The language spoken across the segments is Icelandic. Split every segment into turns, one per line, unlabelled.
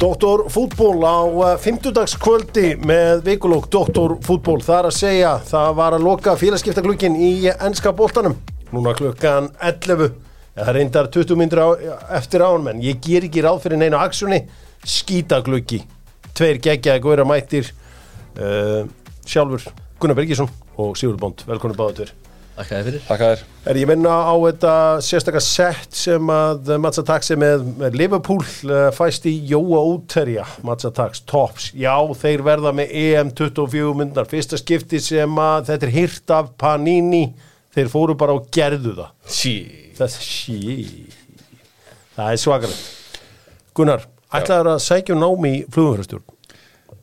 Dr. Fútból á fymtudagskvöldi með vikulók Dr. Fútból þar að segja það var að loka félagskiptaglukkin í ennska boltanum núna klukkan 11 ja, það reyndar 20 myndur á, eftir án menn ég ger ekki ráð fyrir neina aksjunni skítaglukki tveir geggjaði góðra mættir uh, sjálfur Gunnar Bergísson og Sigurður Bond velkonu báðu tver
Þakka þér fyrir
Takk að þér
Er ég minna á þetta sérstakka sett sem að Matsa Tax er með, með Liverpool eh, fæst í Jóa Úterja, Matsa Tax, tops. Já, þeir verða með EM24 myndar, fyrsta skipti sem að þetta er hirt af Panini, þeir fóru bara og gerðu það.
Sí
Það, sí, það er svakalegt. Gunnar, ætlaður að sækja um nám í flugumfjörstjórn?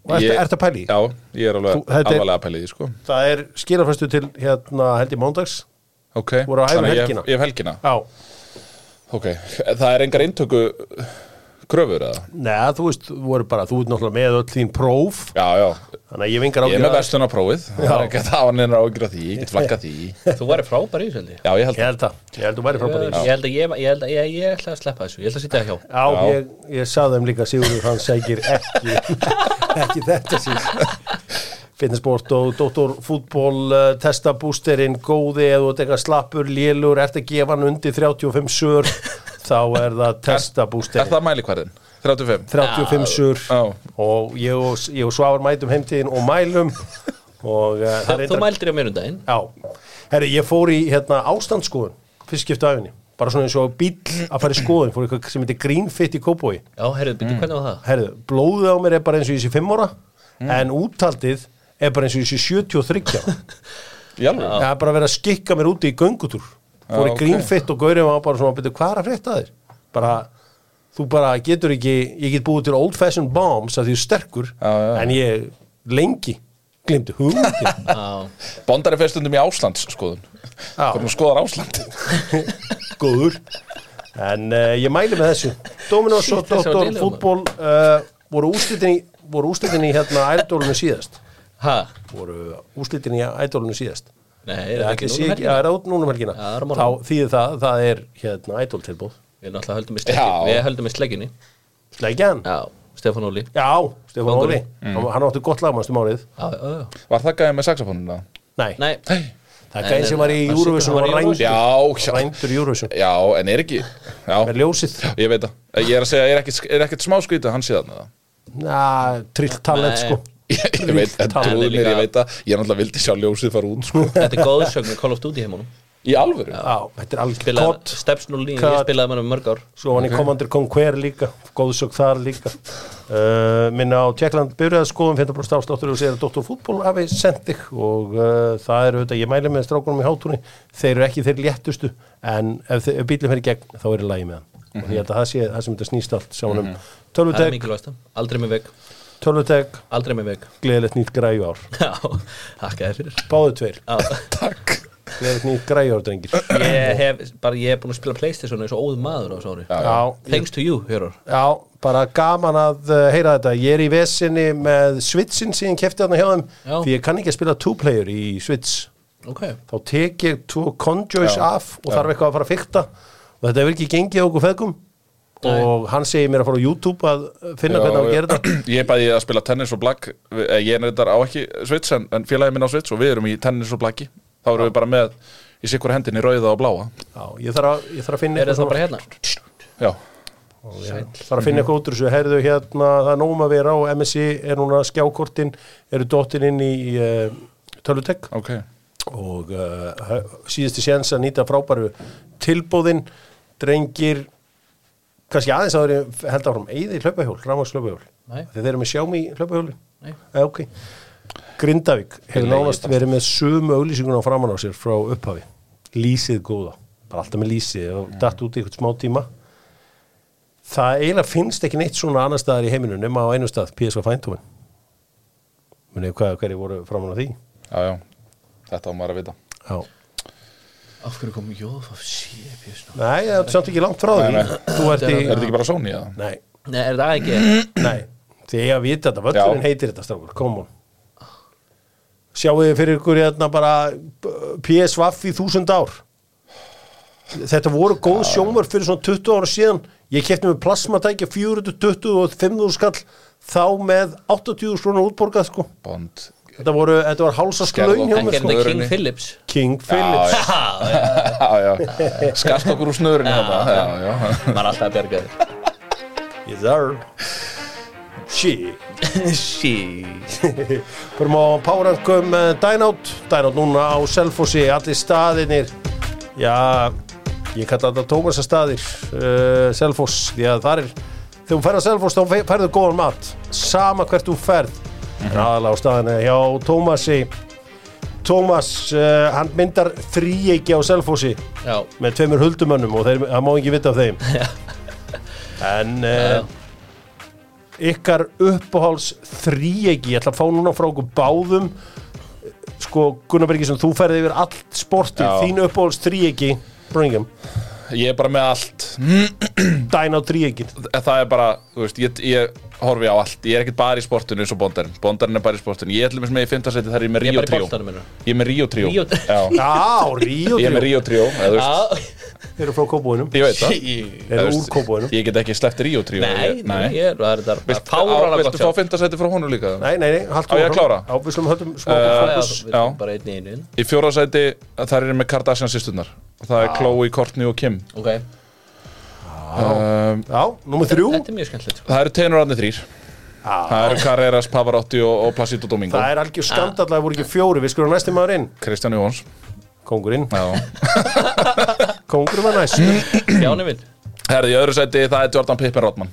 Er
Ég-
þetta pæli?
Já, ég er alveg
Þú- þetta er-
alvarlega að pæla í því sko
Það er skilafæstu til hérna held ég mándags?
Ok
Voru að æfa
Þannig að ég-
helgina.
Ég hef helgina
Já.
Ok Það er engar eintöku uh, kröfur eða
Nei, þú veist, þú voru bara, þú ert náttúrulega með öll þín próf,
Já, já
þannig að ég vingar
Ég er með
ágjörða.
verslunarprófið Það er ekki að það var neina ágjur af því Ég get flaggað því
Þú væri frábær í þessu held ég
Já, ég held
Ég held það, ég held þú væri frábæri.
Ég held að ég, ég, held að, ég, ég ætla að sleppa þessu, ég ætla að sitja hjá
Já,
Já.
ég, ég saði þeim líka Sigurður, hann segir ekki, ekki þetta síðan. Fitnessport og doktorfútból uh, testa bústerinn góði eða þú ert eitthvað slappur, lélur, ert að gefa hann undir 35 sur, þá er það testa
það Er
bústerinn.
það mælikvarðin? 35
35 sur
Já.
og ég og, ég og Svavar mætum heimtíðin og mælum og uh,
Þú, þú mældir um á mjörnundaginn
Já, herri, ég fór í hérna ástandsskoðun, fyrst skipta afinni bara svona eins og bíll að fara í skoðun fór eitthvað sem heitir Greenfit í Kópói
Já, herrðu, byrju,
Mm.
hvernig var það?
herri, blóðið á mér er bara eins og ég sé 5 ára
Mm.
en úttaldið er bara eins og ég sé 73 ára
Jálfur
það er bara verið að skikka mér úti í göngutúr fór í
Já, ok.
Greenfit og gaurið var bara svona byrju, hvað er að frétta þér? bara, þú bara getur ekki ég get búið til old fashioned bombs að því þú er sterkur
Já, já, já.
en ég lengi glimti hugmyndin
Já,
Bondar er fyrstundum í Áslands skoðun
Já.
Hvernig skoðar Ásland
góður en uh, ég mæli með þessu Dominos og
Shit, þessi var
Dr.
lélegur,
Fútból uh, voru úrslitin í voru úrslitin í hérna ædólunu síðast
hæ?
voru úrslitin í ædólunu síðast
Nei,
er
er það
það
ekki
ekki
núna
sé-
helgina?
já, er það út núna um helgina
Já, það er á morgun.
þá þýðir það, það er hérna ædól tilbúð
Við náttúrulega höldum í
Já.
sleggjunni Við höldum í sleggjunni
Sleggjan,
Já, Stefán Óli Já,
já, Stefán Óli
Kóngurinn.
mm. hann átti gott lagmannstum árið
já, já
Var það gæði með saxofónuna?
nei,
Nei,
það er
Nei, nei,
gæðin sem var í
nei,
Eurovision
hann
og
var í
rændur,
Já, já,
rændur í Eurovision
já, en er ekki Já,
með ljósið,
ég veit það Ég er að segja, er ekkert, er ekkert smá skrítið að hann sé þarna það
na, trill talent
Nei.
sko
Ég, ég veit það,
Talandi
trúðu mér,
líka.
ég veit það Ég náttúrulega vildi sjá ljósið fara út sko.
þetta er góðsögn með Call of Duty heimunum
Í alvöru?
já, þetta er algjör
Spilaði,
kott
Steps 09, ég
Cut.
spilaði með hann um mörg ár
Svo var hann í Commander Conquer líka, góðsök þar líka. Uh, minna á Tjekkland byrjaðaskoðum, 50% afsláttur og segir að Dr. Fútból hafi sendt þig og uh, það er auðvitað, ég mæli með strákunum í hátúni, þeir eru ekki þeir léttustu en ef, þe- ef bílum fer í gegn þá er í lagi með hann. Og ég held að það sé það sem þetta snýst allt saman um. Mm -hmm.
Það er
Tölvutek,
mikilvægsta, aldrei með veg
tölvutek,
Aldrei með veg
gleðilegt nýtt græju ár.
Já, þakka þér fyrir
Báðu tveir,
Já,
Takk
gleðilegt nýtt græju ár, drengir.
Ég hef, bara ég hef búin að spila Playstation eins og óð maður á þessu ári
Já, ég,
Thanks to you, Hjörur
já, bara gaman að uh, heyra þetta. Ég er í vesinni með Switchin síðan kefti þarna hjá þeim
Já.
því ég kann ekki að spila two-player í Switch.
Ok
Þá tek ég two conjoys
Já.
af og þarf eitthvað að fara að fykta og þetta hefur ekki gengið á okkur feðgum
Nei.
og hann segir mér að fara á YouTube að uh, finna hvernig á að gera þetta.
Ég er bæði að spila tennis og blakk Eh, Ég er reyndar á ekki svits en, en félagi minn á svits og við erum í tennis og blakki Þá erum við bara með í sikkur hendinni rauða og bláa
Já, ég þarf að, ég þarf að finna
Er það
eitthvað
bara hérna?
Já,
þarf að finna eitthvað út úr þessu, heyrðu hérna það er nógum að vera á MSI, er núna skjákortin, eru dottin inn í uh, tölutek
ok
og uh, síðusti séns að nýta frábæru tilbúðin drengir kannski aðeins að þeir held áfram eyði hlaupahjól, rámans hlaupahjól
Nei.
þegar þeir eru með sjámi hlaupahjóli
Nei.
eh, ok Grindavík hefur
Nei, ég
nánast
bara-
verið með sömu auglýsinguna framan á sér frá upphafi lýsið góða, bara alltaf með lýsið og datt út í eitthvað smá tíma það eiginlega finnst ekki neitt svona annar staðar í heiminu nema á einu stað PSV Fæntómin munið hvað hverju voru framan á því
Já, já, þetta á maður að vita
já
Af hverju kom Jóðfaf síðan?
Nei, það er samt ekki langt frá
Nei,
því
nei.
Þú ert í
Er þetta ekki bara Sony eða?
Nei,
Nei, er það ekki?
nei Þið ég að vita þetta, völlurinn
Já.
heitir þetta strákur Come on Sjáu þið fyrir ykkur hérna bara b- PSVaf í þúsund ár þetta voru góð sjómar fyrir svona 20 ára síðan ég kefti með plasmatækja 420 og 500 skall þá með 80 svona útborgað sko
Bond
þetta voru, þetta var hálsask
Skerðu
laun hjá
okkur.
mér
ekki
sko
þetta King
Snörunni.
Phillips
King Phillips
Já, já, já. Skast okkur úr snörunni þarna já, já.
maður er alltaf að bjarga þér
Yes, sir. She
sí
Förum á Párankum Dynout Dynout eh, núna á Selfossi Allir staðinir Já, ég kalla þetta Tómasa staðir uh, Selfoss Því að það er Þegar þú ferð að Selfoss þá fe- færðu góðan mat Sama hvert þú ferð mm -hmm. Aðalega á staðinu hjá Tómasi Tómas, uh, hann myndar þríeiki á Selfossi
já
með tveimur huldumönnum og þeir, það má ekki vita af þeim en uh, ykkar uppáhals þríegi, ég ætla að fá núna frá okkur báðum sko Gunnar Bergisson, þú ferði yfir allt sportið,
Já.
þín uppáhals þríegi Birmingham,
Ég er bara með allt
dæna á þríegin
Það er bara, þú veist, ég, ég horfi á allt Ég er ekkert bara í sportinu eins og bondarinn Bondarinn er bara í sportinu Ég ætlum með í fimmtarsæti þar er ég með
Ég er
Rio
bara í
Trio
boltanum, meinarðu?
Ég er með Rio Trio
Ríó-
Já,
Já, Ríó,
Ég er með
þeir
Rio Trio eða, þú
Ah.
veist,
eru frá kóbúinum
Ég veit það
Í-
þeir
þú
eru úr
veist,
kóbúinum
Ég get ekki sleppt Rio Trio
nei,
ég,
nei,
nei.
ég er það er þetta
Vilt, á,
fárala
Viltu
gott
fá
hjá
fimmtarsæti frá honum líka?
Nei, nei, nei, haldt
Á ég að klára?
Já, við slum höldum smá
Eh,
Já,
fókus
já, við
Já.
erum bara einn í einu
Í fjórasæti þar er ég með Kardashian sýsturnar Það
Ah.
er Chloe, Courtney og Kim
ok
um,
Já, númer þrjú
þetta er mjög skemmtilegt sko.
Það eru tenurarnir þrýr
Já,
Það eru Carreras, Pavarotti og, og Placido Domingo
Ah. Það er algjör skandall að það voru ekki fjóri, við skulum næstum maður inn
Kristján Jóhans
Kóngurinn,
Já
kóngurinn var næst
Jáni minn
Herði, í öðru sæti það er Jordan Pippen Rodman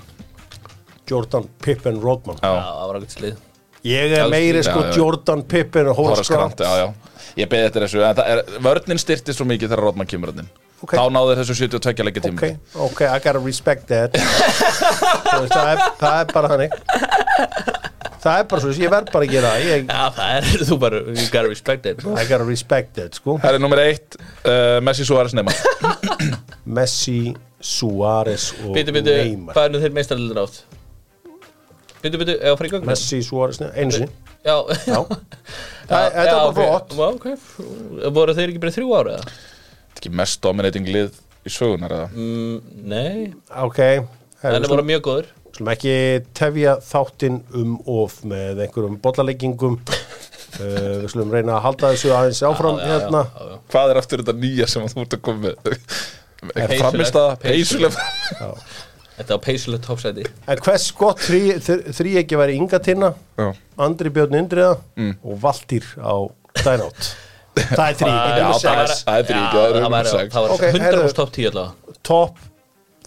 Jordan Pippen Rodman
já, það var ekkert slið
Ég er meiri
Já,
sko
já, já.
Jordan Pippen og Horace Grant
já, já. Ég beði eftir þessu en það er, Vörnin styrtist svo mikið þegar Rodman kemur hann
Ok.
okay. Þá náður þessu 72 leikja tíma
Ok, ok, I gotta respect that Þú veist, það, er, það er bara hannig Það er bara svo, ég verð bara að gera það ég,
já, það er þú bara you gotta respect it
I gotta respect that, sko
Herði, nummer eitt uh, Messi Suárez Neymar
Messi, Suárez og
Býtu, býtu,
Neymar
hvað er nú þeir meistarlega rátt? Býtu, býtu, eða fara í göngum?
Messi, Suárez, Neymar, einu sinni
Já,
Já, Það- þetta var bara flott.
Já, ok, Vá, ok. voru þeir ekki bara í þrjú ára eða?
Þetta er ekki mest dominating lið í sögunar eða
Mm, nei,
ok
en þeir
Herru,
voru mjög góður
Slum ekki tefja þáttinn um of með einhverjum bollaleggingum uh, Við slum reyna að halda þessu aðeins áfram
Já, já,
hérna
já, já.
Hvað er aftur þetta nýja sem þú ert að koma með
Peysulegt.
Framist að peysuleg
Þetta var peysulegt topsæti
En hvers gott þrý, þrý, þrý ekki væri Inga Tinna, Andri Björn Indriða
Mm.
og Valtýr á Dynout. Það er þrý
Það
ekki.
já,
Númer
það
sex.
er- það er þrír,
Já,
ekki, það er
það var
númer sex.
það var
Ok,
100%
heyrðu.
top 10 allavega
Topp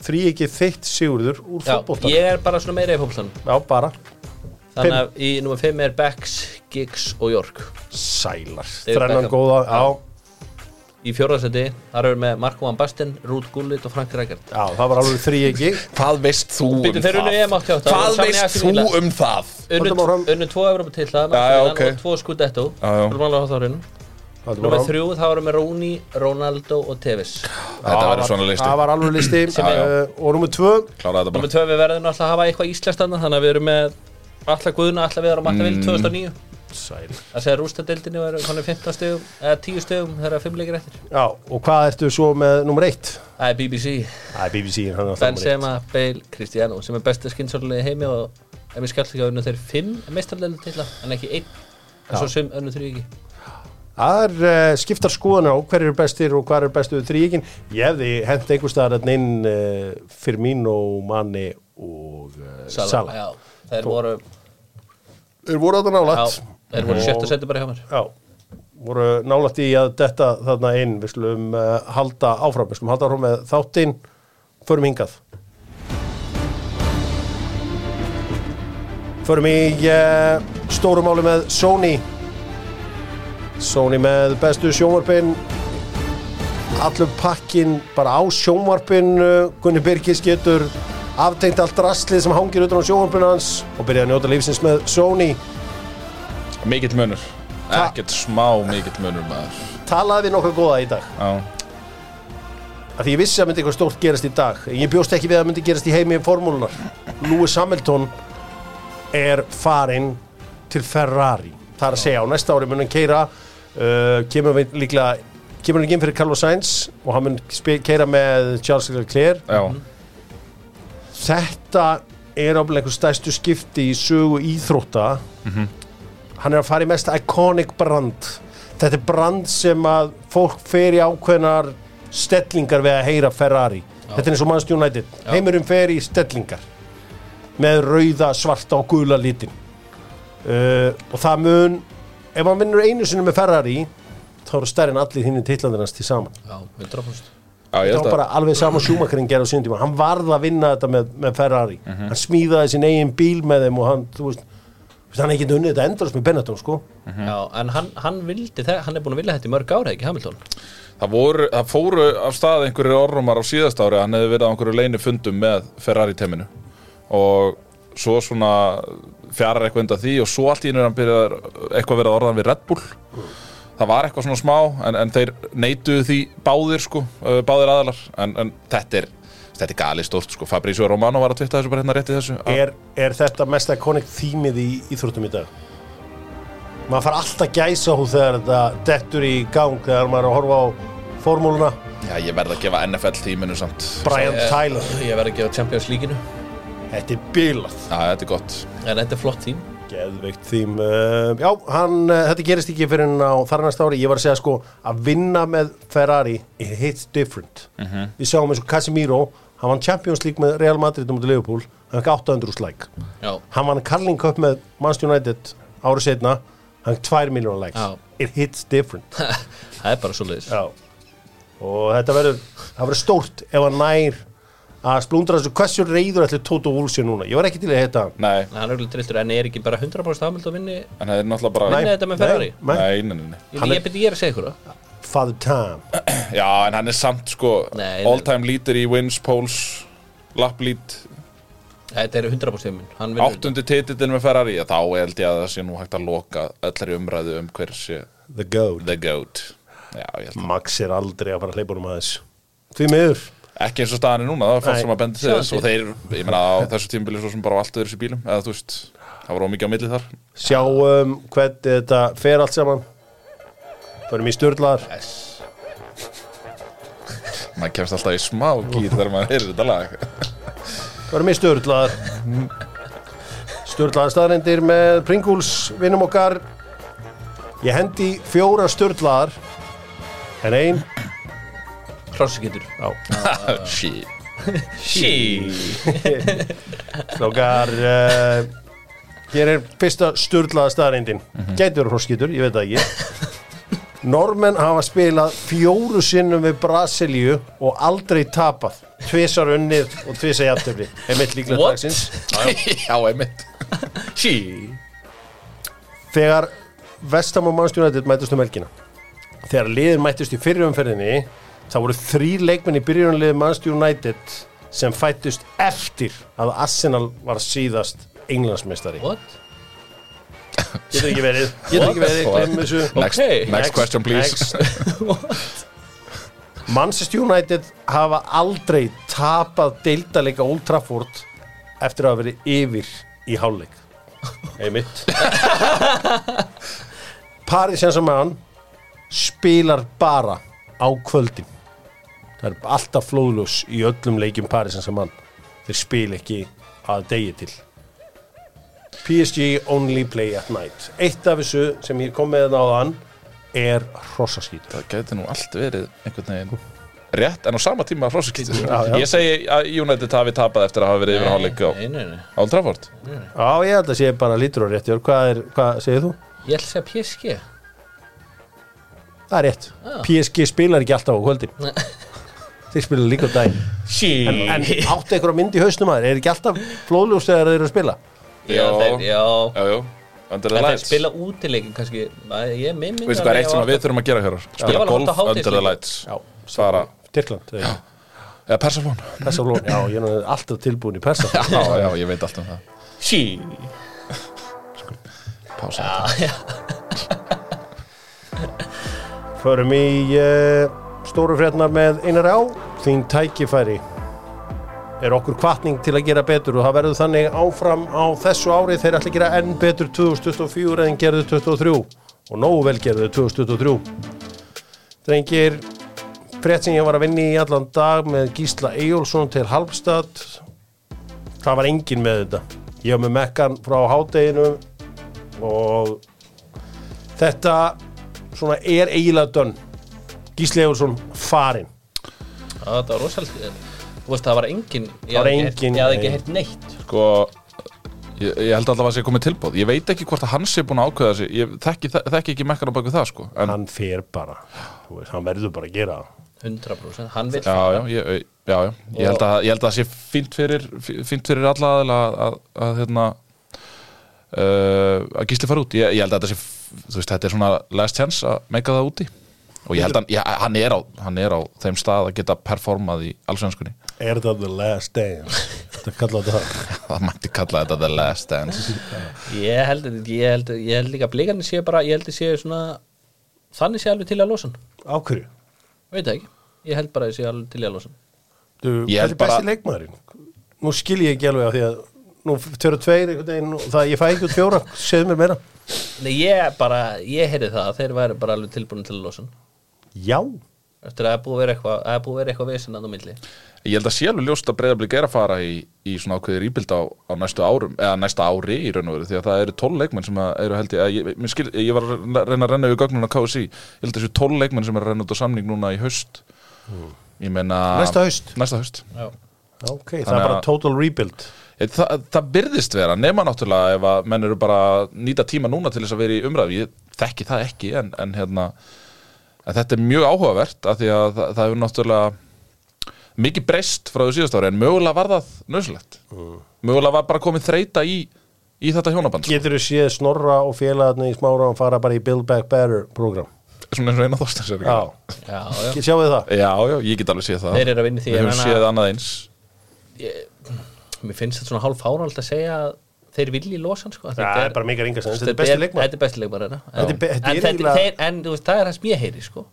þrý ekki þitt sigurður úr
Já,
fótboltan.
ég er bara svona meira í fólkstann
Já, bara
Þannig að í nummer 5 er Becks, Giggs og York
sælar.
David
Þrennan
Beckham.
góða, já,
Í fjórðarsæti, þar eru með Marko Van Basten, Ruth Gullit og Frank Rækert
já, það var alveg þrý ekki.
Hvað veist þú um
Býtu, þeir eru í EM
það?
88
Hvað
Samnýja
veist
ekki
þú
nýlega.
um það?
Unnu
Höldum áfram.
unnu tvo Evropa til það
Já, já, ok.
og tvo Scudetto
Já, já.
Skulum alveg á það á hreinu.
Það
Númer
var-
þrjú, þá erum við Róni, Ronaldo og Tevez
Þetta
það
verður svona listi
Það var alveg listi.
er-
Uh, og númer tvö,
Klára
Númer
þetta bara
tvö, við verðum alltaf að hafa eitthvað íslenskt annað Þannig að við erum með Alla Guðuna, Alla Viðar og Matta Vild 2009
sælar.
Það segir rústadeildinni og erum konum 15 stegum Eða 10 stegum þegar það er 5 leikir eftir
Já, og hvað ertu svo með númer eitt?
Það er BBC,
Það er BBC, hann er alltaf númer eitt.
Benzema, Bale, Cristiano Sem er besta skynsólulega heimi og Ef ég skallt ekki að unnu þeir 5 meistarlega til það En ekki 1 En svo sum unnu 3 ekki
Það er uh, skiptar skoðan á hverju er bestir og hvað er bestu þrýkin. Ég hefði hent einhver staðar að neinn uh, Firmino, Manni og uh, Sala.
Já, þeir voru,
Þeir voru að það
já,
nálægt.
þeir voru
Og-
sjötta seti bara hjá mér
Já, voru nálægt í að detta þarna inn. Við slum uh, halda áfram, við slum halda áfram með þáttinn, förum hingað. Förum í uh, stórumáli með Sony. Sony með bestu sjónvarpinn allur pakkin bara á sjónvarpinu Gunni Birkis getur aftengt allt rastlið sem hangir utan á sjónvarpinu hans og byrja að njóta lífsins með Sony
Mikill munur
Hva-
Ekkert smá mikill munur maður
talaði við nokkað góða í dag
Já
af því ég vissi að myndi eitthvað stórt gerast í dag en ég bjóst ekki við að myndi gerast í heimi formúlunar Lewis Hamilton er farinn til Ferrari það er að segja á næsta ári mun hann keira uh, kemur við líklega kemur hann ekki inn fyrir Carlos Sainz og hann mun keira með Charles Leclerc
Já,
þetta er ábúinlega einhver stærstu skipti í sögu íþrótta hann er að fara í mest iconic brand þetta er brand sem að fólk fer í ákveðnar stellingar við að heyra Ferrari þetta er eins og Manchester United
Já.
heimurum fer í stellingar með rauða, svarta og gula litin uh, og það mun ef hann vinnur einu sinni með Ferrari þá eru stærri en allir hinn í titlandirnast til saman
Já, 100%
já ég
Þetta
held
var
að
bara alveg sama sjúmakarinn gerði á sínum tíma hann varð að vinna þetta með, með Ferrari
Mhm.
hann smíðaði sin eigin bíl með þeim og hann, þú veist, þú veist hann er ekki unnið þetta endurst með Benetton, sko
Já, en hann, hann vildi það, hann er búin að vilja þetta í mörg ára, ekki Hamilton
það, voru, það fóru af stað einhverjir orrumar á síðast ári hann hefði verið á einhverju leini fundum með Ferrari-teiminu og svo svona fjarar eitthvað undan því og svo allt í einu er hann byrjar eitthvað að vera orðan við Red Bull það var eitthvað svona smá en, en þeir neituðu því báðir sko eh, báðir aðalar en, en þetta er þetta er gali stórt sko Fabrizio Romano var að tvitta þessu bara hérna rétt í þessu að-
er, er þetta mest iconic þýmið í íþróttum í dag maður far alltaf gæsa hú þegar þetta dettur í gang þegar maður er að horfa á formúluna
Já, ég verð að gefa NFL tíminu samt
Brian
Eh,
Tyler,
Ég verði ekki á Champions League-inu
þetta er bílað
Já, þetta er gott
En þetta er flott tím
Geðveikt þým uh, Já, hann, uh, þetta gerist ekki fyrir en á þar næsta ári Ég var að segja sko að vinna með Ferrari It hits different
Mhm.
Við sjáum eins og Casemiro Hann vann Champions League með Real Madrid á móti Liverpool Hann fekk 800 slæk
Já,
Hann vann Carling Cup með Manchester United árið setna Hann fekk 2 miljonar likes
Já.
It hits different
það er bara svo leiðis
Já. Og þetta verður Það verður stórt ef hann nær að splundra þessu hversu reyður ætli Toto Wolff sé núna Ég var ekki til að heita hann
Nei,
Hann er auðvitað trilltur, en er ekki bara 100% Hamilton vinni
en það er náttúrulega bara
Nei, þetta með Ferrari?
nei, nei.
Nei, nei, nei, nei.
Ég,
Hann er-
ég byrja ég er að segja ykkur það
Father Time
Já, en hann er samt sko
Nei, nei.
all time leader í wins, polls lap lead,
Þetta er 100% minn, hann vinnur þetta.
áttundi titillin með Ferrari, já, þá held ég að það sé nú hægt að loka öllari umræðu um hver sé
The Goat
the goat Já, ég held
Max er aldrei að fara að hleypa honum aðeins Því miður
ekki eins og staðan er núna, það var fólk
Nei.
sem að bendi
Sjáðu
þess og þeir, ég meina á þessu tímabili svo sem bara á allt öðru sér bílum, eða þú veist það var ómikið á milli þar
Sjáum um, hvernig þetta fer allt saman Förum í stjórnlar
Yes.
maður kemst alltaf í smá gýr þegar maður heyrir þetta lag
Förum í stjórnlar Stjórnlar staðrendir með Pringles Vinnum okkar Ég hendi fjóra stjórnlar En ein
Hrossagítur.
Shit
Slókar uh, Hér er fyrsta stjórnlaða staðrendin Gætur hróskitur, ég veit það ekki Normen hafa spilað fjóru sinnum við Brasilíu og aldrei tapað Tvisar unnið og tvisar jafntefli Einmitt líklega
What?
dagsins
Já, einmitt
Sí.
Þegar Vestam og Manchester United mætust um helgina Þegar liðin mætust í fyrirumferðinni þá voru þrý leikmenn í byrjunarliði Manchester United sem fættust eftir að Arsenal var síðast englandsmeistari
What?
Getur ekki verið, getur ekki verið,
What?
glemmu þessu
Next,
Okay.
next, question please
next. Manchester United hafa aldrei tapað deildarleika Old Trafford eftir að hafa verið yfir í hálfleik einmitt Paris Saint-Germain spilar bara á kvöldin það er alltaf flóðljós í öllum leikjum Paris Saint-Germain þeir spil ekki að degi til PSG only play at night eitt af þessu sem ég kom með náðan er hrossaskýtur
það gæti nú allt verið einhvern veginn rétt en á sama tíma hrósaskýtur
Sko. Já, já.
ég segi að United hafi tapað eftir að hafa verið yfir hálfleik á
Nei, nei, nei.
á Old Trafford
Já, ég held að sé bara lítur á rétt Jörg, hvað, er, hvað segir þú?
Ég ætla að segja PSG.
Það er rétt PSG spilar ekki alltaf á kvöldin
Nei.
Þeir spila líka á daginn
Sí.
En, en áttu einhverja mynd í hausnum aður Er ekki alltaf flóðljós þegar þeir eru að spila?
já, þeir, já.
já, já, under the
En þeir
lights
spila útileikin kannski. Æ, Ég er með minna.
veistu hvað er eitt sem að við þurfum að gera hér
Ég
spila
var að halda
golf
hátíð,
under the
sko.
lights
Já.
svara
Tyrkland eða ekki?
eða persafón
Persaflón, já, ég er nú alltaf tilbúin í Persa
já, já, ég veit allt um það
Sí.
pása
Förum í uh, stóru frétnar með einar á Þín tækifæri Er okkur kvatning til að gera betur og það verður þannig áfram á þessu ári þeir ætla að gera enn betur 2024 en gerðu 23 og nógu vel gerðu 2023 Drengir, frétt sem ég var að vinna í allan dag með Gísla Eyjólfsson til Halmstad það var engin með þetta ég var með mekkan frá hádeginu og þetta svona er eiginlega dönn Gísli Eyjólfsson farinn
Já, þetta var rosalega Þú veist, það var engin Ég
var
hafði ekki heyrt-
engin-
Ég hafði ekki heyrt neitt
sko ég, ég held alltaf að það sé komið tilbúð ég veit ekki hvort að hans er búin að ákveða sig ég þekki, þekki ekki mekkan á baku það sko en,
hann fer bara, þú veist, hann verður bara að gera það
100% Hann vil
já, já, ég, eh, já, já, ég held að ég held að það sé fínt fyrir fínt fyrir alla aðeila að, að, að hérna uh, að gísli fara út ég, ég held að þetta sé, þú veist, þetta er svona last chance að meika það úti og ég held að hann- ég, hann, er á, hann er á þeim stað að geta performað í allsvenskunni
er það the last dance þetta kallaði það
það mætti kalla þetta the last dance
Ég held, ég held, ég held líka að blikarnir séu bara, ég held að séu svona þannig séu alveg til að losa hann
á hverju?
veit það ekki, ég held bara að séu alveg til að losa hann
Þú,
Ég
þetta
held
er besti
bara-
leikmaðurinn nú skil ég ekki alveg af því að nú tveru tveir einhvern veginn og það ég fæ ekki út fjóra, segðu mér meira
Nei, ég bara, ég heyrði það að þeir væri bara alveg tilbúin til að losa hann
já,
eftir að það er búið að vera eitthvað, að það er búið að vera eitthvað vesen að á milli
Ég held að sé alveg ljóst að breyðablík er að fara í, í svona ákveðir íbild á, á næstu árum eða næsta ári í raun og veru því að það eru 12 leikmenn sem að eru held ég að ég, mér skil, ég var að reyna að renna yfir gögnun á KSI ég held að þessu 12 leikmenn sem eru að renna út á samning núna í haust ég meina
Næsta haust?
næsta haust.
Já.
ok, það
Þannig
er
að-
bara total rebuild
Ég, það, Eh, það byrðist vera nema náttúrulega ef að menn eru bara að nýta tíma núna til þess að vera í umræðu ég þekki það ekki en, en hérna en þetta er mjög áhugavert af því að það, það hefur náttúrulega mikið breyst frá því síðast ári en mögulega var það nöðslegt mögulega var bara komið þreita í, í þetta hjónaband sko.
getur þú séð snorra og félagarni í smára og fara bara í Build Back Better program
svona eins og eina þorstins er
já,
Já, já.
Get- sjáu þið það
já, já, ég get alveg séð það
Þeir eru að vinna í því,
við
ég
höfum
meina-
séð annað eins
Ég, mér finnst þetta svona hálf fáralt að segja að þeir vilji losa hann sko.
Já, það er bara megar enga sens, þetta er besti leikmaður
Þetta er besti leikmaður hérna.
Þetta er be-
En
þetta er
þetta-
eiginlega-
þeir- En þú veist, það er það sem ég heyri sko.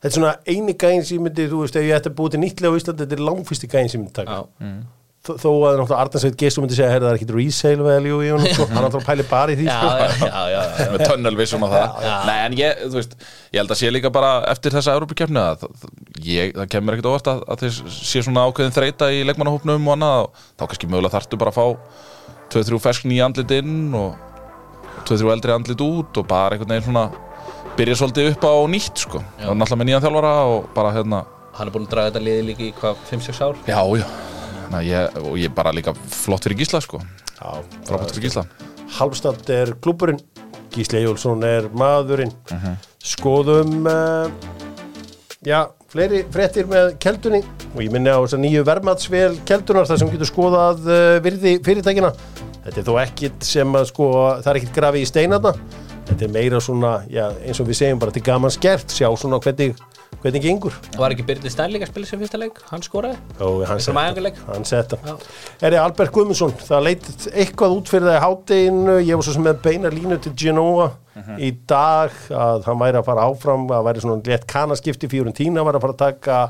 þetta er svona eini gæðin sem ég myndi, þú veist, ef ég ætti að búið til nýttlega á Íslandi, þetta er langfyrsti gæðin sem ég myndi taka
Já.
Þó, þó að náttúrulega Arnarsveit Gestum myndi segja, herra, það er ekki resale value í honum, sko, hann náttúrulega pæli bara í því,
Já,
sko
já, já, já, já.
með tunnelvisum á það Nei, en ég, þú veist, ég held að sé líka bara eftir þessa Evrópukefni að það, ég, það kemur ekkert óvart að, að þið sé svona ákveðin þreita í leikmannahópnum og annað og þá kannski mögulega þarftu bara að fá 2-3 fersk nýja andlit inn og 2-3 eldri andlit út og bara einhvern veginn svona byrja svolítið upp á nýtt sko og náttúrulega með nýjan þjálfara og bara hérna
Hann er búin að draga þetta liði líka í hvað, 5-6 ár
já, já, Ná, ég, og ég bara líka flott fyrir Gísla sko
Já,
frábært fyrir Gísla
Halmstad er klúburinn Gísli Ejólfsson er maðurinn skoðum uh, já, fleiri fréttir með keldunni og ég minni á þess að nýju vermaðsvél keldunar þar sem getur skoðað uh, virði fyrirtækina þetta er þó ekkit sem að sko það er ekkit grafi í steinarna þetta er meira svona, já, eins og við segjum bara til gaman skert, sjá svona hvernig hvernig gengur
Það var ekki Byrni Stein líka að spila sem fyrsta leik Hann skoraði
Jó, hann
Þetta
setti-
er mæðingarleik.
hann setta
Já.
Eri Albert Guðmundsson, það leit eitthvað út fyrir það í hátteginu, ég var svo sem með beina línu til Genoa í dag að hann væri að fara áfram að væri svona létt kanaskipti, Fiorentina var að fara að taka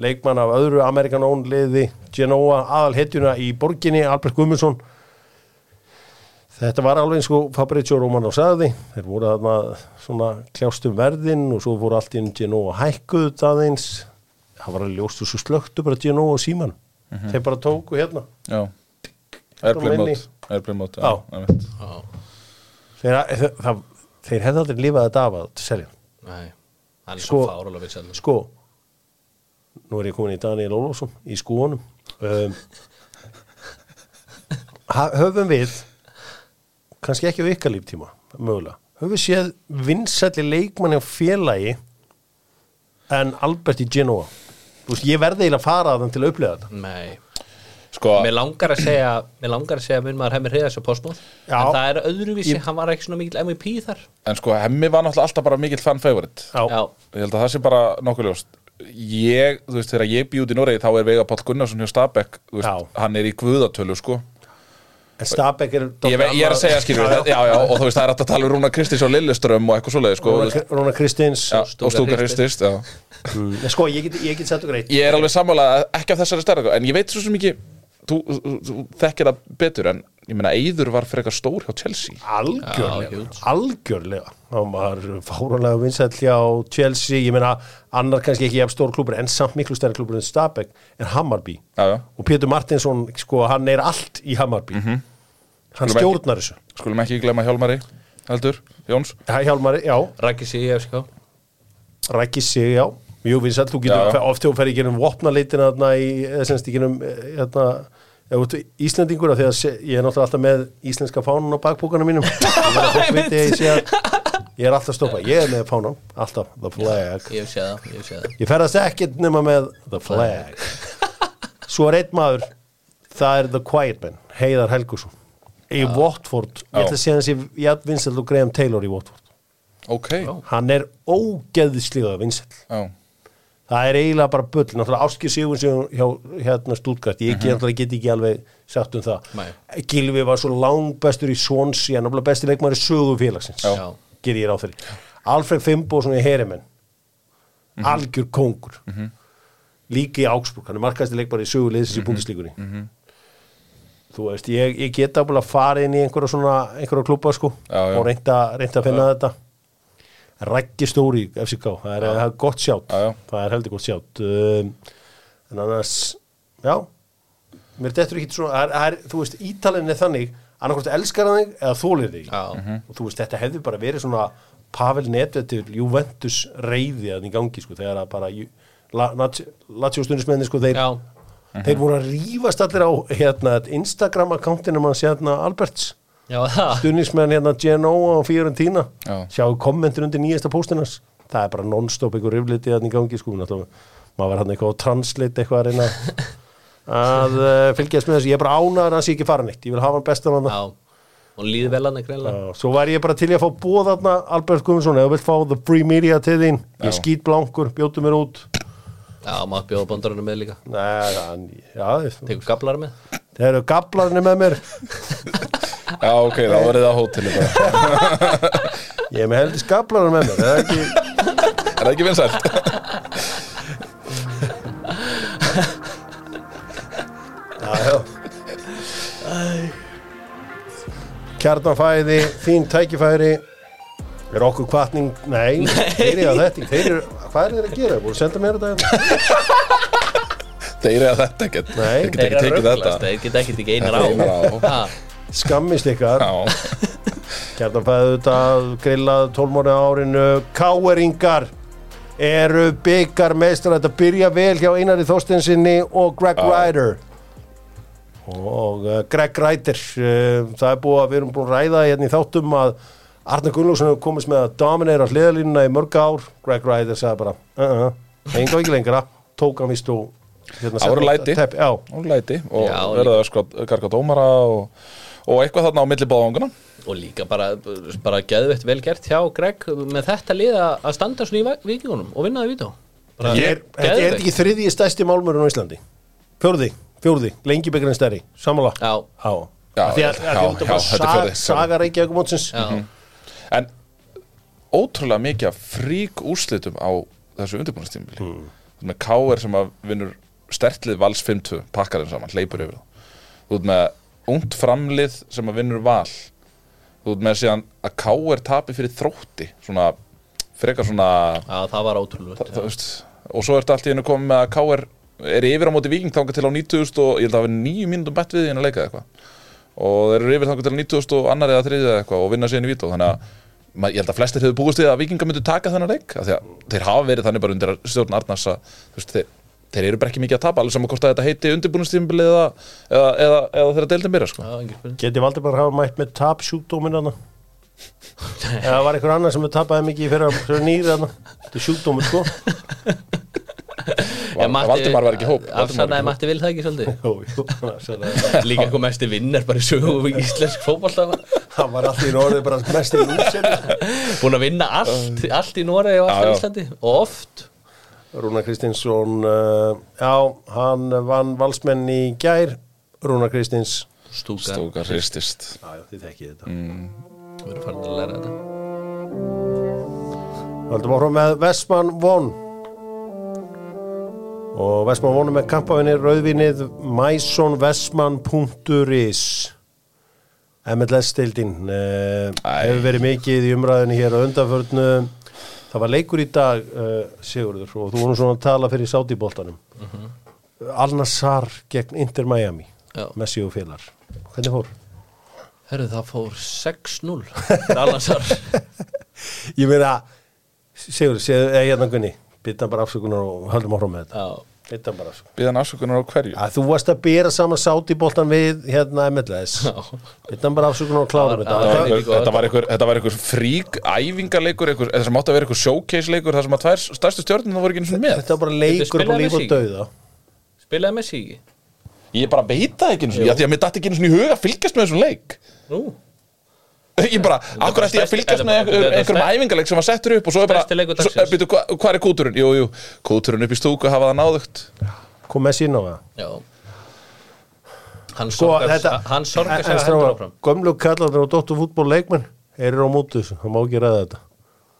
leikmann af öðru Amerikanón liði Genoa aðalhetjuna í borginni, Albert Guðmundsson Þetta var alveg eins og Fabrizio Romano sagði, þeir voru þarna svona kljást um verðin og svo voru allt inn Genoa hækkuð það eins, það var alveg ljóst og svo slöktu bara Genoa og síman, þeir bara tóku hérna,
já, airplane
minni.
mode airplane mode,
Já.
einmitt.
þeir, það, það, þeir hefði aldrei lifað þetta af að selja, hann.
Nei, hann er
Sko-
svo fárálega við sjálf
sko, nú er ég komin í Daniel Ólafsson í skónum, um, ha- höfum við, kannski ekki á ykkar líftíma, mögulega, höfum við séð vinsætli leikmanni á félagi en Albert í Genoa, þú veist, ég verði eiginlega að fara að hann til að upplega þetta.
Nei,
sko,
mér langar að segja Mér langar að segja að minn maður hefði reyða svo postmóð
Já.
En það er öðruvísi, hann var ekki svona mikil MVP þar
En sko, Hemmi var náttúrulega alltaf bara mikill fan favorite
Já,
Ég held að það sé bara nokkuð ljóst Ég, þú veist, þegar ég bý út í Noregi þá er Veigar Páll Gunnarsson hjá Stabæk þú veist,
Já.
hann er í guðatölu, sko
En Stabæk er
ég, ve- ég er að segja, skilur, já, já, já, og þú veist, það er alltaf að tala um Rúna Kristins og Lilluström og eitthvað svoleiði, sko þú veist.
Róna, Róna Kristins
Já,
Stúka
og Stúka
Hristist.
Hristist, já
Nei, Sko, ég get, ég get sett og greitt
Ég er alveg sammála ekki af þessari stærða en ég veit svo sem ekki þú, þú, þú þekkir það betur en ég meina, Eyður var frekar stór hjá Chelsea
Algjörlega,
Já, huge.
algjörlega hann var fárónlega vinsæll hjá Chelsea, ég meina annar kannski ekki jafn stór klúpur en samt miklu stærri klúpur en Stabæk er Hammarby
Já, já.
og Pétur Martinsson, sko, hann er allt í Hammarby hann
Skulum ekki-
stjórnar þessu
Skulum ekki glemma Hjálmari Heldur, Jóns
Hæ Hjálmari, já,
Rækki sig í FSK
Rækki sig, já Jú, við sættu, þú getur
Já, já.
já. oft þegar þú fer í genum vopnaleitina þarna í, eða semst í genum hérna, ef þú ert Íslendingur af því að se- ég er náttúrulega alltaf með íslenska fánan á bakbúkana mínum ég verð að fólk viti að ég sé að ég er alltaf að stoppa, ég er með fánan alltaf, the flag
Ég hef séð það, ég hef séð það
ég ferðast ekkert nema með the flag svo er einn maður það er the quiet man, Heiðar Helgusson í Watford, ég
Já.
ætla að segja hans í Jad Vincent og Graham Taylor í Watford
Ok Já,
hann er ógeðislega Vincent það er eiginlega bara bull náttúrulega Áskir Sigur sem hjá hérna stúlgart ég get, náttúrulega get ekki alveg sagt um það
Nei.
Gilvi var svo langbestur í Swansea en náttúrulega besti leikmaður í sögu félagsins
Já.
ger ég ráð fyrir Alfred Fimboðsson í Herimenn algjör kongur líka í Augsburg, hann er markastir leikmaður í sögu liðsins í búndislíkunni þú veist, ég, ég get alveg farið inn í einhverja svona einhverja klubba sko
Já, já.
og reynda, reynda að finna þetta Rækki Stóri FCK, það er, það er gott sjátt
Já, já.
það er heldur gott sjátt um, en annars, já mér dettur ekki svona það er, það er, þú veist, ítalinn er þannig annarkvort elskar hann þig eða þólir þig
Já. Mhm.
og þú veist, þetta hefði bara verið svona Pavel Nedvetur, Juventus reyði að í gangi, sko, þegar að bara Ju- La- Nat- Lazio stundismenni, sko, þeir
Já,
þeir voru að rífast allir á hérna, Instagram akkantinum hans hérna Alberts
já það
Stunismenn hérna Genoa og Fiorentina
Já.
sjáu kommentur undir nýjasta póstinans það er bara non-stop einhver rifliti þannig í gangi sko, náttúrulega. maður var hann eitthvað á translate eitthvað að reyna að uh, fylgjast með þessu, ég er bara ánaður að hans ég ekki fara neitt, ég vil hafa hann bestan hann
Já, og líði vel hann ekki reyla
svo væri ég bara til í að fá bóð þarna Albert Guðmundsson, ef þú vilt fá the free media til þín
Já.
ég skýt blankur, bjótu mér út
Já, maður bjóða bandarunum með líka
Nei, hann, já,
Tekur gablar með
þeir eru gablarnir með mér
já ok, þá verið það á hóteli bara.
ég er með heldur gablarnir með mér það er ekki
Er það ekki vinsælt?
Já, já. Kjarnanfæði, fín tækifæri Er okkur kvartning Nei, þeir eru að þetta ekki. þeir eru, Hvað eru þeir að gera? Búið að senda mér þetta hérna.
Þeir eru að þetta ekkert
Nei.
Þeir geta ekki tekið þetta
Þeir geta ekki tekið einar á
Þetta er bara á.
Ha,
Skammist ykkar
Já,
Kjarnanfæði auðvitað grillað 12 mánu árinu Káeringar eru byggarmeistar Þetta byrja vel hjá Einari Þorstensinni og Greg
Já.
Ryder og uh, Greg Rætir uh, það er búið að við erum búin að ræða hérna í þáttum að Arne Gunnlóksson hefur komist með að dominera hliðalínuna í mörg ár Greg Rætir sagði bara uh -uh, enga ekki lengra, tók hann vist og hérna,
Það voru
setti-
læti.
tepp, já,
og læti Og
Já, og
verða öskot, garga dómara og, og eitthvað þarna á milli báðangana
Og líka bara, bara geðveitt vel gert hjá Greg með þetta lið að- að standa svona í vikingunum og vinna það vító Bara
ég er, þetta er
geðveikt.
ekki þriðji stærsti málmurinn á Íslandi fjórði, fjórði, lengi byggurinn stærri sammála
Já.
Já,
Af því að,
já,
að, að,
já, þetta er
að,
fjórði.
að saga Reykjavík mótsins
Já,
En ótrúlega mikið af frík úrslitum á þessu undirbúinastímili mm. með K.R. sem að vinnur stertlið vals 5-2, pakkar þeim saman, hleypur yfir það þú ert með ungt framlið sem að vinnur val þú ert með síðan að K.R. tapi fyrir þrótti svona, frekar svona
já, það var ótrúlega
þú veist, og svo ertu allt í hennu komið með að K.R. er yfir á móti Víking þangað til á 90 og ég held að það hafi nýju mínútum bett við í hennu leikað eitthvað og þeir eru yfir þangað til 90 og annar eða þriðið eða eitthvað og vinna síðan í vító þannig að ma- ég held að flestir hefur búist við að vikingar myndu taka þennan leik af því að þeir hafa verið þannig bara undir stjórn Arnars að þú veist, þeir, þeir eru bara ekki mikið að tapa alveg saman hvort að þetta heiti undirbúinustímbili eða, eða, eða, eða þeirra deildin byrja sko.
Já, engin spurning
Geti valdi bara hafa mætt með tap sjúkdómin hana Eða var einhver annar sem tapaði mikið fyrir, fyrir nýri hana Þetta er sjúkdómin sko
Var, Valdimar var ekki í hóp Valdimar var
Afsannaði
ekki í hóp.
Matti vil það ekki svolítið
Jú, jú, annars er það-
Líka eitthvað mesti vinnar bara í sögum í íslensk fótballta
Það var alltaf í norðið bara mest í lúsin
Búin að vinna allt, allt í Noregi og allt
Um.
í
Já, já.
Íslandi og oft
Rúnar Kristinsson uh, Já, hann vann valsmenn í gær Rúnar Kristins
Stúka, Stúka.
Stóka hristist
Já, já, þið þekkið þetta
Við erum farin að læra þetta
Haldum áfram með Vestmann Von og Vestmann Von er með kampafinni rauðvinnið mysonvestmann.is MLS-steildin uh,
Æ.
hefur verið mikið í umræðinu hér á undanförnu það var leikur í dag uh, Sigurður og þú vorum svona að tala fyrir sátíboltanum mm -hmm. Alnassar gegn Inter Miami
Já.
Messi og félar hvernig fór?
Herru, það fór 6-0 Dalasar
Ég meina Sigurður, séð, eða hérna Gunni bytta bara afsökunar og höldum áfram með þetta
Já,
bytta bara
sko.
afsökunar
Býðan afsökunar á hverju?
að þú varst að bera saman sátíboltan við hérna MLS
já
bytta bara afsökunar og klárum
Það var- það
þetta
Þetta
líka-
var- Þetta var einhver- þetta var einhver frík æfingarleikur, einhver, þetta sem átti að vera einhver showcase-leikur, það sem að tvær stærstu stjórnum það voru ekki eins og með.
þetta var bara leikur
spilaði
upp á líf og
Messi?
dauða
Spilaði Messi ekki?
Ég bara veit það ekki eins og, því að mér dætti ekki eins og í huga að fylgjast með þessum leik.
Nú,
Ég bara, akkur ætti ég að
stærsti-
fylgjast
þetta
með
er bara- þetta er
einhver- einhverjum
stærsti-
æfingarleik sem var settur upp og svo er bara,
Stærsti leikur
svo-
dagsins.
býtu, hva- hvað er kúturinn? Jú, jú, kúturinn upp í stúku hafa það náðugt.
kom Messi inn á það
já Hann
Sko,
sorgar
þetta-
Hann sorgar
En-
sér
en
að hendur
strákar,
áfram
Gömlu kallarnir og dotturfútból leikmenn eru á móti þessu, það má ekki ræða þetta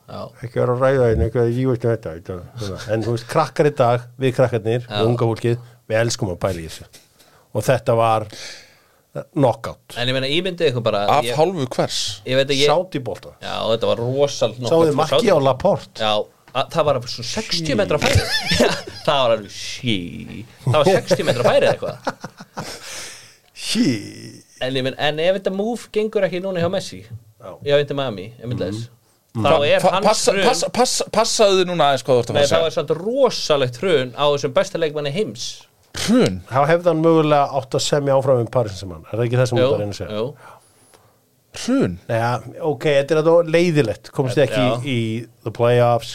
Já,
ekki vera að ræða þetta, ekki vera að jífast þetta, þetta svona. en þú veist, krakkar í dag við krakkarnir,
Já.
við unga fólkið við elskum að pæla í þessu og þetta var knockout
en ég meina ímyndið ykkur bara
Af
ég,
hálfu hvers?
ég veit ekki
sátt í bólta,
Já, þetta var rosal
sáðu marki á Laport
Já, að, það var alveg svona 60 metra færi Já, Það var alveg sí Það var 60 metra færi eða eitthvað
hí,
en, ég meina, en ef þetta move gengur ekki núna hjá Messi
Já.
Já, um þetta Miami, emilis mm. Þá er
Mm-hmm. Fa-
hans
passa-
hrun
passa- passa- Passaðu þið núna aðeins hvað þú ert að
Nei,
fara
það
að
var samt rosalegt hrun á þessum besta leikmanni heims
segja. Hrun.
þá hefði hann mögulega átt að semja áfram um Parísinsamann, er það ekki það sem þú
Jú,
var einu að segja?
jú
Hrun.
Neha, ok, þetta er þetta leiðilegt komst þið ekki
Já.
í the playoffs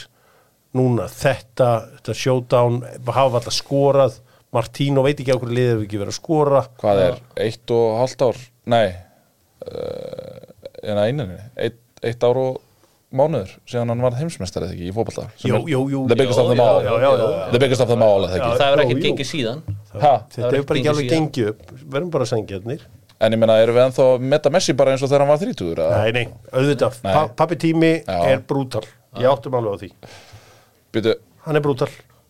núna, þetta, þetta showdown hafa alltaf skorað Martino veit ekki á hverju liðið hefur ekki verið að skora
Hvað er? Eitt og hálft ár? Nei. Uh, en að eininni. Eitt, eitt ár og mánuður síðan hann varð heimsmeistar eða ekki í fótballta.
Jú, jú, jú,
The biggest
jú,
of them
jú,
all.
já, já, já, já.
The biggest of them all eða
Já.
ekki.
Það hefur
Jú,
ekkert
jú.
gengjið síðan
Ha?
þetta hefur bara ekki alveg
síðan.
gengið upp verðum bara sengjarnir
En ég meina, erum við ennþá að meta Messi bara eins og þegar hann var 30? eða?
nei, nei, auðvitað,
Nei.
pa pappi tími
Já.
er brútal, ég áttum alveg á því
Býtu,
hann er brútal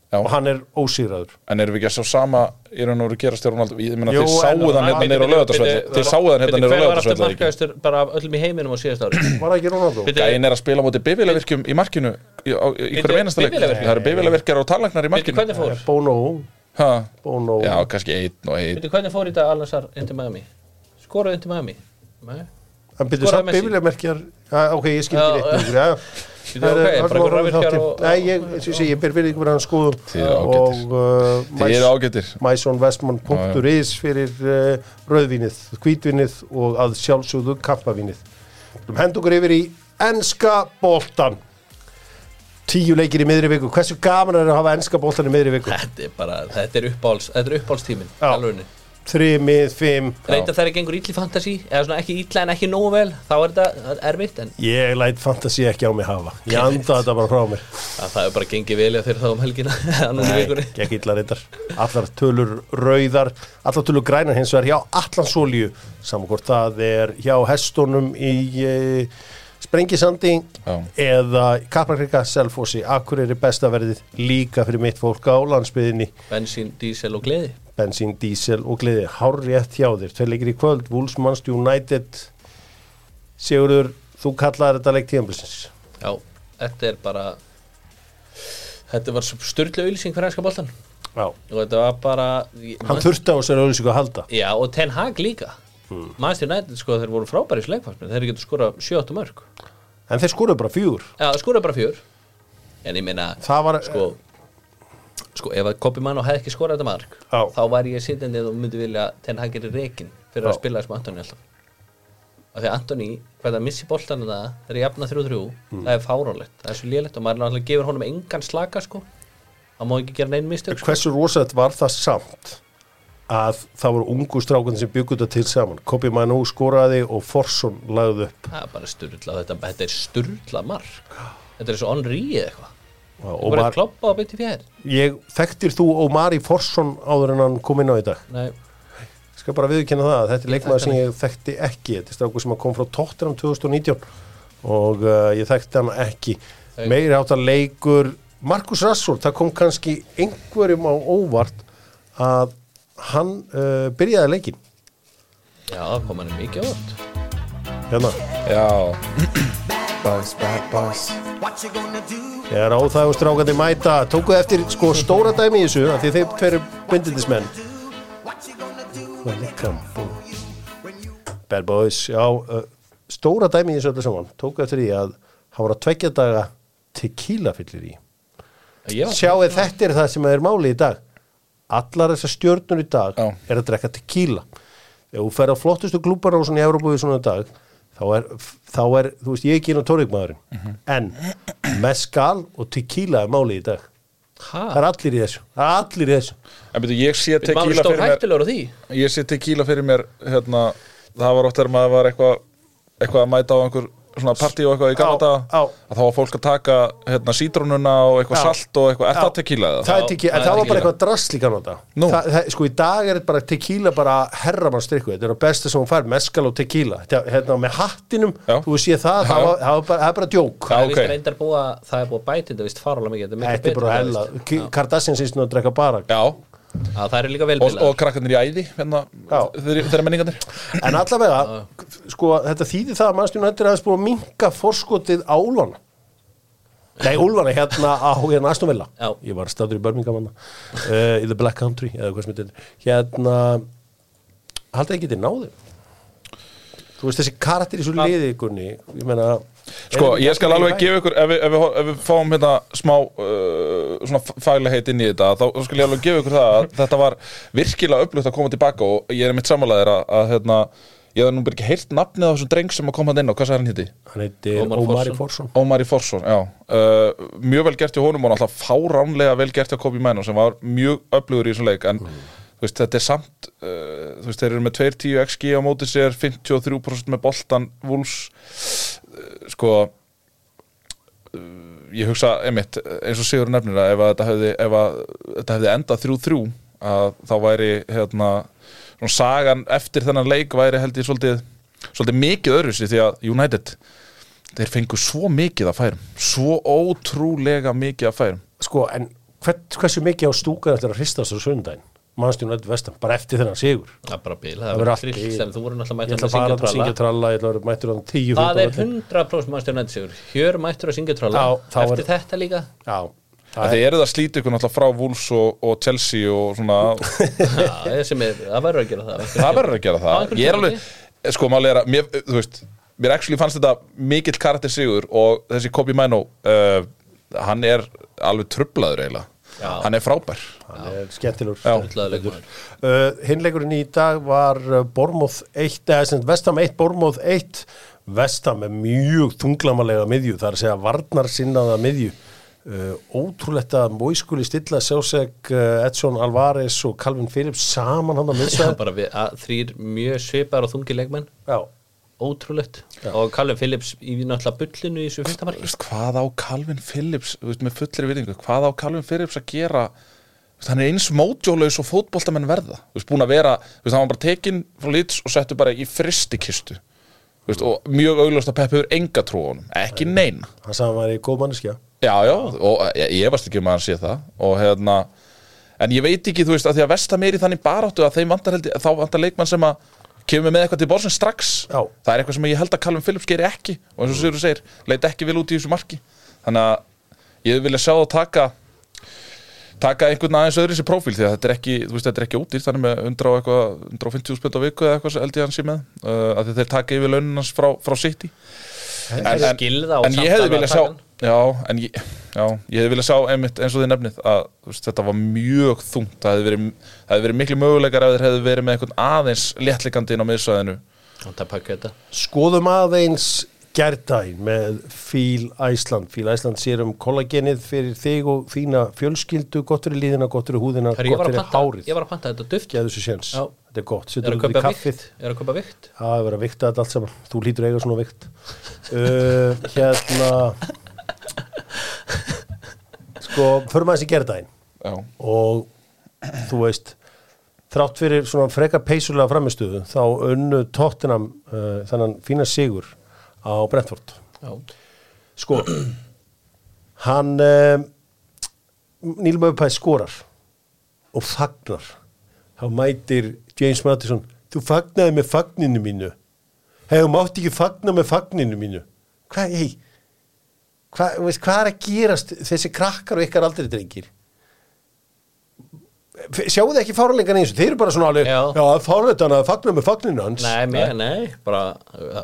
Já.
og hann er ósýraður
en erum við ekki að sjá sama í raun og veru gerast þér Ronaldo? Ég meina,
Jú,
þið
en-
sáuð hann
Nei,
hérna neyra á lögatarsvelli. Þið sáuð hann hérna
Bíddu,
neyra á
Hver var aftur
lögatarsvelli ekki?
markaðastur bara af öllum í heiminum á síðast ári
var það ekki Ronaldo?
Bíddu,
Gæinn er að spila móti bifilavirkjum í markinu í, á, í hverjum einasta leik.
Bifvélavirkjum?
Það eru bifilavirkjar og talagnar í
Veitu
markinu.
hvernig fór?
Bono,
Ha?
Bono
Já, kannski einn og einn.
Veitu hvernig fór í dag Alansar undir Miami? Skoraði undir Miami? Nei
hann byrði
Skoraði
samt
Messi.
bifilamerkjar ok, ég skil ekki
Já,
neitt lengur, já.
Bíddu,
Það er-
ok,
höldum
bara
áfram
einhverjar
þáttinn.
og-
Nei, ég, eins og ég segi, ég ber fyrir ykkur hann skoðum
Þið eru ágætir.
og
Þið eru ágætir.
mysonvestman.is fyrir uh, rauðvinið, hvítvinið og að sjálfsögðu kampavinið Hend okkur yfir í enska boltan Tíu leikir í miðri viku Hversu gaman er að hafa enska boltan í miðri viku?
Þetta er bara, þetta er uppáhalds, þetta er uppáhaldstíminn
Já.
alvörunni.
Þrimið, fimm
Reyndar þegar gengur ítli fantasi eða svona ekki ítla en ekki nógu vel þá er þetta erfitt en
Ég læt fantasi ekki á mig hafa Ég anda þetta bara frá mér
að það er bara gengið vel fyrir þá um helgina annars í vikunni
Gekk illa reyndar Allar tölur rauðar Allar tölur grænar hins vegar hjá Allansólju Saman hvort það er hjá hestunum í e, Sprengisandi
Já.
Eða Kaplakrika, Selfossi Akkur er besta verðið líka fyrir mitt fólk á landsbyðinni
Bensín, dísel og gleði
Bensín, dísel og gleði Hárrétt hjá þér Tveir leikir í kvöld Wolves, Manchester United Sigurður, þú kallaðir þetta leik tíðanbilsins
Já, þetta er bara þetta var styrla auðlýsing fyrir ennska boltan
Já
og þetta var bara ég-
Hann þurfti á þessari auðlýsingu að halda
Já, og Ten Hag líka hmm. Manchester United sko þeir voru frábæri í sleikfarsmið þeir getur skorað 7-8 mörg
En þeir skoruðu bara fjúr
Já, skorað bara fjör en ég meina
Það var
sko sko ef að Kobi Mano hefði ekki skorað þetta mark
Já.
þá var ég sittandi og myndi vilja Ten Hag gerir rekin fyrir að spila þessum Antoni alltaf af því að Antoni, hvað það missi boltan það þegar ég jafna 3-3, það er fáránlegt það er svo lélegt og maður náttúrulega gefur honum engan slaka sko, það má ekki gera neinn mistök sko.
hversu rosalegt var það samt að það voru ungu strákan sem byggur þetta til saman Kobi Manu skoraði og Forsson lagði upp
það er bara sturla, þetta, þetta er sturla mark þetta er eins og Henri eða eitthvað og bara
Ómar,
kloppa á bytti fjær
ég þekktir þú Ómari Forsson áður en hann kom inn á í dag
Nei,
ég skal bara viðkynna það að þetta er leikmaður
þekki
sem ég þekkti ekki þetta er stráku sem kom frá Tottenham 2019 og uh, ég þekkti hann ekki
Nei.
meiri áttar leikur Markus Rassur, það kom kannski einhverjum á óvart að hann uh, byrjaði leikinn
já, það kom hann um mikið átt
Hérna,
Já,
What you gonna do?
þegar óþægustrákandi mæta tókuð eftir sko stóra dæmi í þessu af því þeir tveir bindindismenn
What you gonna do?
Bad Boys, já uh, stóra dæmi í þessu öllu saman tókuð eftir því að hann var að tveggja daga tequila fyllir í
Ég var
sjáið þetta er það sem er máli í dag allar þessar stjörnur í dag
Já.
er að drekka tequila ef þú fer á flottustu glúbarásun í Európa í svona dag þá er, þá er, þú veist, ég er ekki inn á tórikmaðurinn en mezcal og tequila er máli í dag það
Hæ?
er allir í þessu, það er allir í þessu
en byrju, ég sé
Maður
tequila
stóð
fyrir mér
hættulegur á því
Ég sé tequila fyrir mér, hérna Það var oft þegar maður var eitthvað eitthvað að mæta á einhver svona partí og eitthvað í
Á,
Kanada
á.
að þá var fólk að taka hérna sítrónuna og eitthvað
Já.
salt og eitthvað, er
Já.
það tequila eða?
það, er tequila,
það
en
er
það var bara
tequila.
eitthvað drastlíkan á þetta
Nú.
það, það, sko í dag er bara tequila bara herramannstrykku, þetta er það besta sem hún fær mezcal og tequila, þetta hérna með hattinum
Já.
þú sé það,
Já,
það,
já.
var, það, var bara, það er bara djók
Það er
ok.
víst reyndar búið að það er búið að bæta þetta vist farulega mikið miklu
Þetta er
betra
bara
en
hella
það, víst.
Kardashian sýst nú að drekka bara
Já,
Já, það er líka
og, og
velbílað
krakkarnir í æði hérna,
Já.
þeir, þeirra menningarnir
En allavega, sko, þetta þýðir það að mannstjónu þetta er aðeins búið að minka forskotið á Úlfana Nei, Úlfana hérna á hérna Astonvilla
Já.
Ég var staður í Birmingham uh, í The Black Country, eða hvað sem þetta er Hérna, haldið ekki þetta náðu Þú veist þessi karakter í svo liði ykkurni Ég meina
Sko,
er-
ég skal alveg gefa ykkur ef við, ef við, ef við fáum hérna smá uh, svona faglegheit inn í þetta þá þá skal ég alveg gefa ykkur það að þetta var virkilega upplugt að koma tilbaka og ég er mitt samanlegaðir að, að hérna, ég hef nú bara ekki heilt nafnið á þessum dreng sem að koma hann inn á, hvað sagði hann hitti?
Hann heitir
Ómar
Ómari
Forsson.
Forsson
Ómari Forsson, já uh, mjög vel gert í honum og náttúrulega fáránlega vel gert hjá Kobi Mænum sem var mjög upplugur í þessum leik en þú veist, þetta er samt uh, þú veist, þeir eru með 2-10 XG á móti sér 53% með boltan Wolves uh, sko uh, ég hugsa, einmitt, eins og Sigur nefnir að ef að þetta hefði, ef að, þetta hefði endað 3-3 að þá væri hérna, svona sagan eftir þennan leik væri held ég svolítið svolítið mikið öðruvísi því að United þeir fengu svo mikið að færum svo ótrúlega mikið að færum
Sko, en hvern, hversu mikið á stúkan eftir að hristast á sundaginn Mannstjónu þetta vestan, bara eftir þennan sigur
Það er bara bíl,
Það
það
verður
er
allt í-
krill sem þú voru náttúrulega
Ég
mættur
ætla að
að
fara að
syngja
syngja
tralla
tralla, ég ætla að vera mættur á hann 10
Það er
15
100% mannstjórn nættisigur Hjör mættur að syngja tralla
Já, þá
Eftir
er-
þetta líka
Já,
að
það
þið eru það að slíta ykkur náttúrulega frá Wolves og, og Chelsea og svona
Já, ég sem er- Það verður að gera það
það verður að gera
Á
það
einhverjum
ég
tímapunkti.
er alveg, sko máli er að mér, þú veist, mér actually fannst þetta mikill karakter sigur og þessi Kobi Mæno uh, hann er alveg trublaður eiginlega
Já.
hann er frábær
hann er skemmtilegur
Tröllaður leikmaður.
uh, Hinleikurinn í dag var uh, Bormóð 1, eða sem Vestam 1, Bormóð 1 Vestam er mjög tunglamalega miðju, það er að segja varnar sinnaða miðju uh, Ótrúlegt að Móiskuli stilla Sjásek, uh, Edson Alvarez og Calvin Phillips saman hann að
Já,
missa
bara við- að Þrýr mjög svipar og þungi leikmenn
Já,
Ótrúlegt Og Callum Phillips í náttúrulega bullinu í þessu fyrsta
Þú
marki
veist, hvað á Calvin Phillips þú veist, með fullir virðingu, hvað á Calvin Phillips að gera Þú veist, hann er eins mótjólaus og fótboltamenn verða Þú veist, búin að vera, þú veist, hann var bara tekin frá lits og settu bara í fristikistu Þú veist, og mjög augljóst að Pep hefur enga trú á honum, ekki neina
hann sagði hann var í góð manneskja
já, já, og ég, ég varst ekki um að hann sé það og hérna, en ég veit ekki þú veist, að því að vestam er í þannig baráttu að þeim vantar heldig, þá vantar leikmann sem að kemur með eitthvað til borsin strax
Já.
það er eitthvað sem ég held að Callum Phillips gerir ekki og eins og Sigur segir, leit ekki vel út í þessu marki þannig að ég vilja sjá það taka taka einhvern aðeins öðru sér prófíl því að þetta er ekki, þú veist, þetta er ekki útýrt þannig með 100 og eitthvað, 150 spönd á viku eða eitthvað sem held ég að hann sé með uh, að þeir taka yfir laununans frá, frá City en, en,
Skilða og
en
samt
ég hefði
alveg
viljað
að
sjá
taka hann.
já, en ég, já, ég hefði viljað sjá einmitt eins og þið nefnið að þú veist, þetta var mjög þungt það hefði verið, það hefði verið miklu möguleikar ef þeir hefði verið með einhvern aðeins léttlikandi inn á miðsvæðinu
Og það pakka þetta
Skoðum aðeins gærdæn með Fíl Æsland. Fíl Æsland sér um kollagenið fyrir þig og þína fjölskyldu, gott fyrir líðina, gott fyrir húðina,
Herri, ég
gott
var að
fyrir
panta,
hárið.
ég var að panta þetta duft
Gæðu þessu séns.
Já.
Þetta er gott.
Ég er
Sittur
að
út í
kaupa
kaffið.
vikt Ég er að kaupa vikt
Það er verið að vikta þetta allt saman. Þú lítur að eiga svona vikt. Uh, hérna, sko, förum aðeins í gærdæn
já,
og þú veist þrátt fyrir svona freka peysulega framistuðu þá unnu tóttinam uh, þannan fína sigur á Brentford
Já,
sko hann uh, Nílmöðu Pæs skorar og fagnar þá mætir James Madison þú fagnaði með fagninu mínu hei, þú mátt ekki fagna með fagninu mínu hvað, hei hvað, þú veist, hvað er að gerast þessi krakkar og ykkar aldrei drengir F- sjáu þið ekki fáralegan eins og þeir eru bara svona alveg,
Já.
já, fáralegan að fagna með fagninu hans
Nei, mér, nei, bara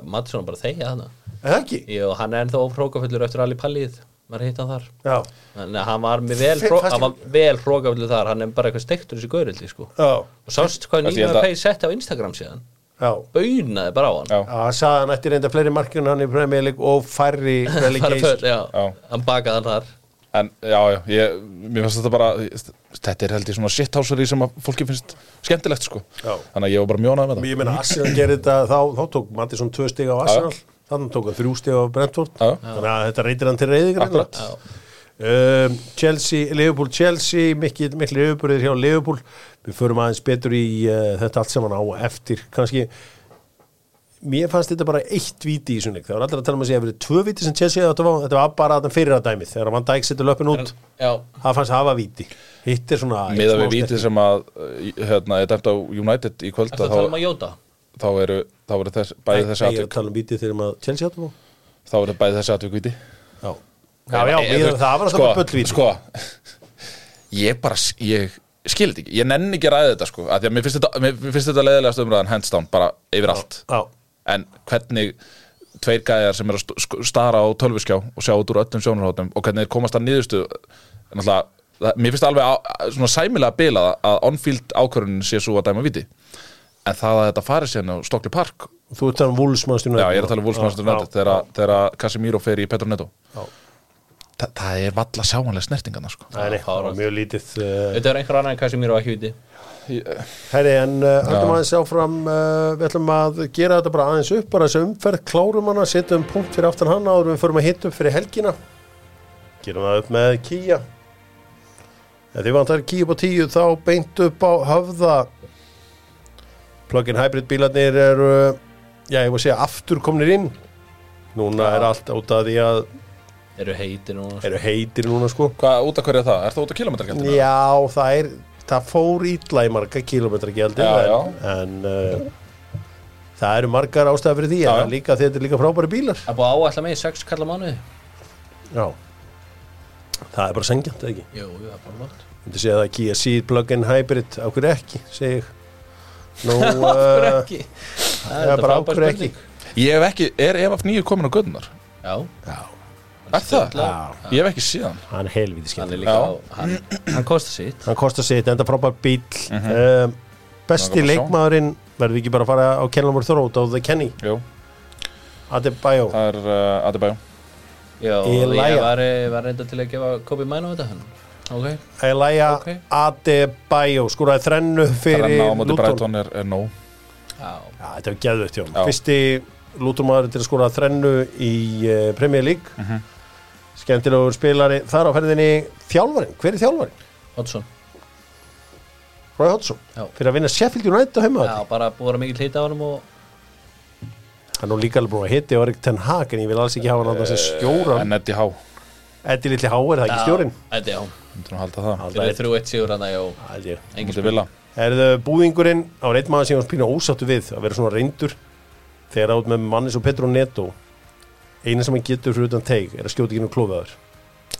Madsson er bara að þegja hana
er það ekki?
Jú, hann er ennþá hrókafullur eftir allir pallið maður hitt hann þar
já,
Þannig að hann var með vel,
Fe-
hró,
fannst
hann var vel hrókafullur þar hann er bara eitthvað steiktur þessi gaurildi sko.
já,
og sást hvað
Kannski ég held
nýjum
að-
að pegi setti á Instagram síðan
já
baunaði bara á hann
Já.
Já, sagði hann eftir reynda fleiri markir en hann í Premier League og færri
Bara
relegation.
föll, já.
Já.
hann bakaði hann þar
En já, já, ég, mér finnst þetta bara Þetta er held ég svona shithásari sem að fólki finnst skemmtilegt sko
Já.
Þannig að ég var bara mjónað með það
Ég meina Arsenal gerði þetta þá, þá tók Mattisson tvö stig á Arsenal þannig tók hann þrjú stig á Brentford
Já.
þannig að þetta reytir hann til reyði
Akkurat.
greinlega um, Chelsea, Liverpool, Chelsea mikil, mikil yfirburðir hjá Liverpool við förum aðeins betur í uh, þetta allt saman á eftir kannski mér fannst þetta bara eitt víti í sunnig það var allir að tala um að segja að verið tvö víti sem Chelsea þetta var, þetta var bara þetta fyrir að dæmið þegar hann dæk setur löpun út
já,
það fannst hafa víti hitt er svona
Miða
smá
við vítið sem að uh, hérna, er dæmt á United í kvöld
það
að
tala um
þá,
að jóta
þá eru, þá eru þess,
Nei,
bæði þessi
ég er að
atvik
tala um vítið þegar maður Chelsea átum á
þá eru bæði þessi atvik víti
Já, já, já
Ég-
við,
þú
það
veist,
var alltaf
sko,
bara bullvíti
Sko, ég bara, s- ég skil þetta ekki Ég nenni ekki að ræða þetta sko af Því að mér finnst þetta, mér mér finnst þetta leiðilegast umræðan hands down bara yfir allt
Já,
en hvernig tveir gæjar sem eru að st- sk- stara á tölviskjá og sjá út úr öllum sjónarhóttum og hvernig þeir komast að nýðustu náttúrulega, það- mér finnst alveg á, svona sæmilega bilað að on-field ákvörunin sé svo að dæma viti en það að þetta farið sérna á Stokli Park
þú ert um þannig vúlsmannstjónu
já, ég er að tala um Wolfsmanstur United þegar að- þegar að Casemiro fer í Petro Neto Þa, það er valla sjáanlega snertingarna sko.
Nei, nei, það var mjög lítið uh,
þetta er einhver annar en kannski mér á ekki viti
Herri, en uh, haldum aðeins áfram uh, Við ætlum að gera þetta bara aðeins upp bara þessu umferð, klárum hana, setjum punkt fyrir aftan hann áður en við förum að hitta upp fyrir helgina Gerum það upp með Kía Ef þið vantar Kía upp á tíu þá beint upp á höfða Plug-in hybrid bílarnir eru já, ég var að segja aftur komnir inn Núna er allt út af því að
eru heiti núna sko.
eru heitir núna sko
hvað út af hverju er það? Er það út af kilometrarkjöndinu?
Já, það er það fór ítla í marga kilometra gældi
Já, já.
en, en uh, það eru margar ástæða fyrir því
Já,
já,
já.
líka því þetta er líka frábæri bílar
það er búið að áætla mig í 6 kalla mánuði
Já Það er bara sengjant, eða ekki?
jú, jú, það er bara lótt
Ég myndi segja það ekki að síð plug-in hybrid á hverju ekki, segi ég Nú,
Eh,
okkur
uh,
ekki
það er bara á hverju ekki
ég hef ekki, er EFF 9 komin á gödunar?
já,
er það?
Já,
ég hef ekki síðan
hann er helvítið
hann er
skemmt
líka á,
Já.
hann, hann kostar sitt
Hann kostar sitt, enda frábæri bíl um, Besti
Langar bara að sjá.
leikmaðurinn verður við ekki bara að fara á Kenlamur Þrót á The Kenny,
Jú,
Adebayo
það er uh, Adebayo
já,
Í
ég
lagi.
var, var reynda til að gefa Kobe Mæn á þetta hann ok,
Elia
Ok.
Adebayo skoraði þrennu fyrir
Renna á móti
Luton
Brighton er, er nóg
já,
Já, þetta var geðvögt hjá hann
Já.
Fyrsti Lutonmaður til að skora þrennu í uh, Premier League
Mhm.
Skemmtilegur spilari Þar á ferðinni þjálfarinn, hver er þjálfarinn?
Oddsson
Roy Hodgson,
Já.
fyrir að vinna Sheffield United á heima
já, bara búið að vera mikið hlita á hann og
Hann er nú líka alveg búin að hitti og er ekki ten hag en ég vil alls ekki hafa hann að þessi stjóra
Eh, En Eddie Há,
Eddi Lilli Há er það ekki stjórinn
Þetta já,
myndur hún halda það
Alltaf
það er
einn.
þrjú eitt sigur hann já,
Það held ég.
engin
Mútið
spil
vilja
Erðu búðingurinn á einn maður sem ég var pínu ósáttu við að vera svona reyndur þegar átt með manni svo Petro Neto eina sem hann getur fyrir utan teig er að skjóta ekki nú klófiðaður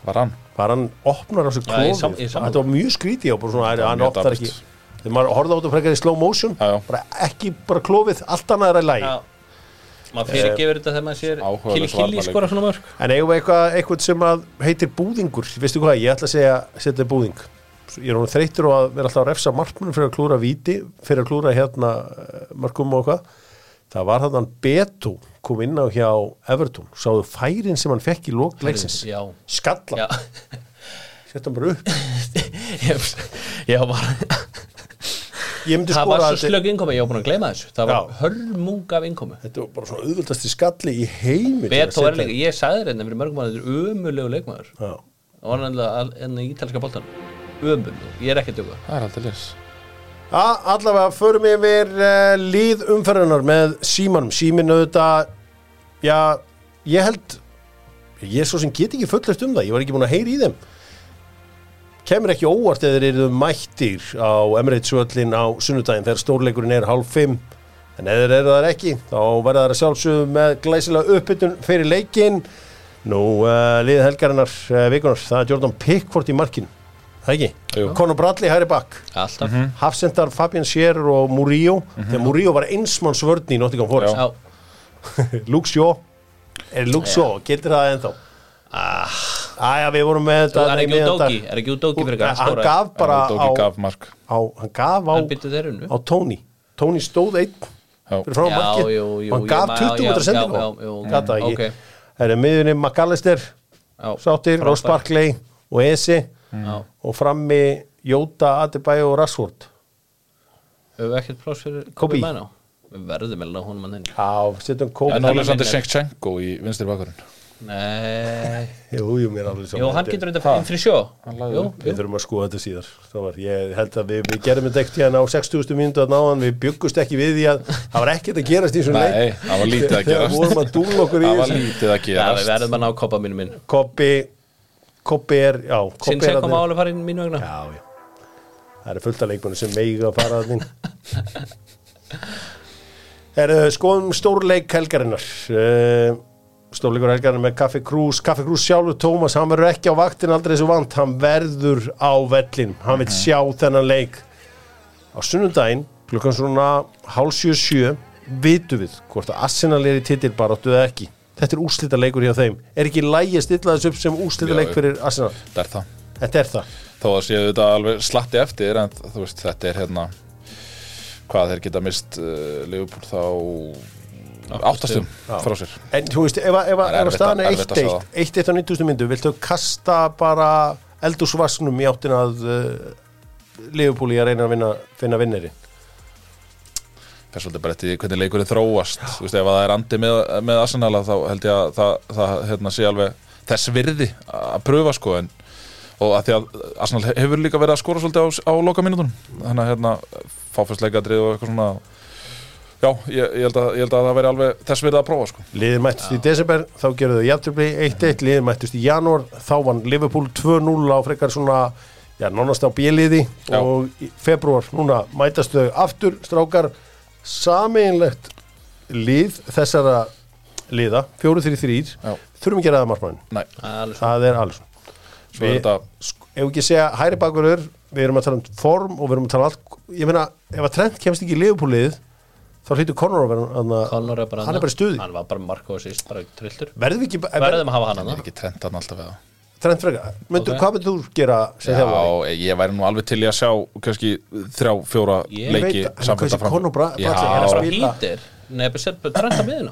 Var hann?
bara hann opnar á sig
Já, ég sam-
klófið
ég sammála.
þetta var mjög skrítið og bara svona
var
hann
mjög
opnar ekki
dapurt.
þegar maður horfði á þetta frekar í slow motion
Já, já.
bara ekki bara klófið allt annað er að lægi
Já, maður fyrirgefur þetta þegar maður sér
Áhugaverð
Kili Kili
varnarleikur.
skora svona mörg
en eigum við eitthvað, eitthvað sem að heitir búðingur veistu hvað, ég ætla að segja setja búðing ég er hún þreytur og að vera alltaf að refsa markmunum fyrir að klúra víti, fyrir að klúra hérna eh, markum og hvað það var þarna hann Beto kom inn á hjá Everton, sáðu færin sem hann fekk í lokleiksins,
Já, já
skalla setja hann bara upp,
Ég ég var bara
ég myndi
Það
skora
var svo
að þetta-
slögg innkomi, ég var búin að gleyma þessu Það var
Já.
hörmung af innkomi
Þetta var bara svona auðvöldasti skalli í heiminn
Beto er leik, ég sagði þetta fyrir mörgum að þetta er ömulegu leikmaður
Já,
Það var nefnilega enn í ítalska boltan Ömulegu, ég er ekki að duga
Það er aldrei lis
A, allavega förum yfir uh, líð umferðunar með símanum síminn auðvitað já, ég held ég er svo sem get ekki fullast um það ég var ekki búin að heyra í þeim kemur ekki óvart eða þeir eru mættir á Emirates völlin á sunnudaginn þegar stórleikurinn er hálf fimm En ef þeir eru þar ekki, þá verða þær að sjálfsögum með glæsilega uppbytun fyrir leikin. Nú, uh, liðið helgarinnar uh, vikunar, það er Jordan Pickford í markinu. Það ekki?
Jú.
Conor Bradley hæri bakk.
Alltaf
Mhm. Hafsendar Fabian Scherer og Murillo.
Mhm.
Þegar Murillo var einsmann svörni í Nottingham Forest.
Já,
Luke Shaw. Er Luke Shaw, gildir það ennþá? Ah. Æja, við vorum með
það er
þarna í
ekki
miðjan
Udogi
dag.
Er ekki Udogi fyrir hvað
Hann gaf bara
Bara Dóki
á,
gaf mark
á, hann gaf á,
Hann byttu þeir unnu
á Tony. Tony stóð einn
Já.
fyrir frá
Já,
markið
jú, jú,
og hann
jú,
gaf
já,
20
já,
metra
já,
sendingu
já, já, já.
gata ekki
Ok.
það er miðunni McAllister
Já,
sáttir
frábær. Mm.
Ross Barkley og Esi
Já.
og frammi Jóta, Adebayo og Rashford
Höfum við ekkert pláss fyrir
Kobe.
Kobe Mano Við verðum meðlega honum að henni
já, setjum kók
En
það er
Alexander
minna-
Shevchenko í vinstri bakurinn
Nei
jú, jú, mér er alveg
Jó,
saman
hann getur þetta inn fyrir sjó
lagði
Jú,
við
jú.
þurfum að skoða þetta síðar það var, ég held að við, við gerum þetta ekkert hérna á 60. mínútu að náðan, við byggust ekki við því að það var ekkert að gerast í svona
Nei, það var lítið að
þegar vorum að
gerast
dúla okkur í
Það var
þessu
lítið að
Já, við
gerast
verðum að ná koppa mínu minn
Koppi, Koppi er, já Kobbi
Sinn sem
er
kom
þarna-
álega farinn mínu vegna
Já, já. Það eru fullt af leikmennu sem meiga að fara að þín. Herru, skoðum stórleik helgarinnar. Eh, Stórleikur helgarinnar með Kaffi Krús. Kaffi Krús sjálfur Tómas, hann verður ekki á vaktin aldrei þessu vant. Hann verður á vellin. Hann
Mhm.
vil sjá þennan leik. Á sunnundaginn, klukkan svona hálsjö sjö, vitum við hvort að Arsenal er í titilbaráttu eða ekki. Þetta er úslita leikur hjá þeim. Er ekki lægi að stilla þessu upp sem úslita leik
Já, já.
fyrir Arsenal?
Það er það
Þetta er það.
Þó að séu þetta alveg slatti eftir En þú veist, þetta er hérna Hvað þeir geta mist uh, Leopold þá Áttastum frá sér
En þú veist, ef, að- ef, að- ef
Það er
að
erfitt
staðan
að-
er
erfitt að sjá
1-1
það.
1-1 á 90. myndu, viltu kasta bara eldursvarsnum í áttin að uh, Liverpool í að reyna að vinna, finna vinneri
Það er svolítið bara eftir því hvernig leikurinn þróast Þú veist, ef það er andi með, með Arsenal að þá held ég að það, það hérna, sé alveg þess virði að pröfa sko en, og að því að Arsenal hefur líka verið að skora svolítið á, á loka mínútunum þannig að hérna, fáfærsleikadrið og eitthvað svona Já, ég, ég, held að, ég held að það veri alveg þess virði að prófa sko
Liðin mættust í desember, þá gerðu þau jafntöfli 1-1, liðin mættust í janúar þá vann Liverpool 2-0 á frekar svona já, nánast á bjeliði
Já.
og í februar, núna mætast þau aftur, strákar sameinlegt lið þessara liða 4-3-3,
Já.
þurfum ekki að ræða margmann
Nei,
Það er alveg svo.
það er alls
svo er þetta
sk- ef ekki segja hæri bakurur við erum að tala um form og við erum að tala um allt ég meina, ef að Trent kemst ekki í liðupúlið þá hlýtur Conor að vera hann að-
Conor er bara
hann er bara í stuði
Hann var bara markóð síst, bara trilltur
verðum við ekki verðum.
Verðum að hafa hann
er
annað
ekki trendan alltaf eða
Trent freka myndu,
Ok.
hvað myndur þú gera sem þjálfari?
Já, ég væri nú alveg til í að sjá kannski þrjá, fjóra
Ég
leiki
veit að- en
samfellt
hversu
fram.
Conor Bra-
Já,
Bradley
Það er bara
Spila.
hýtir Nei, bara sett bara trenda miðina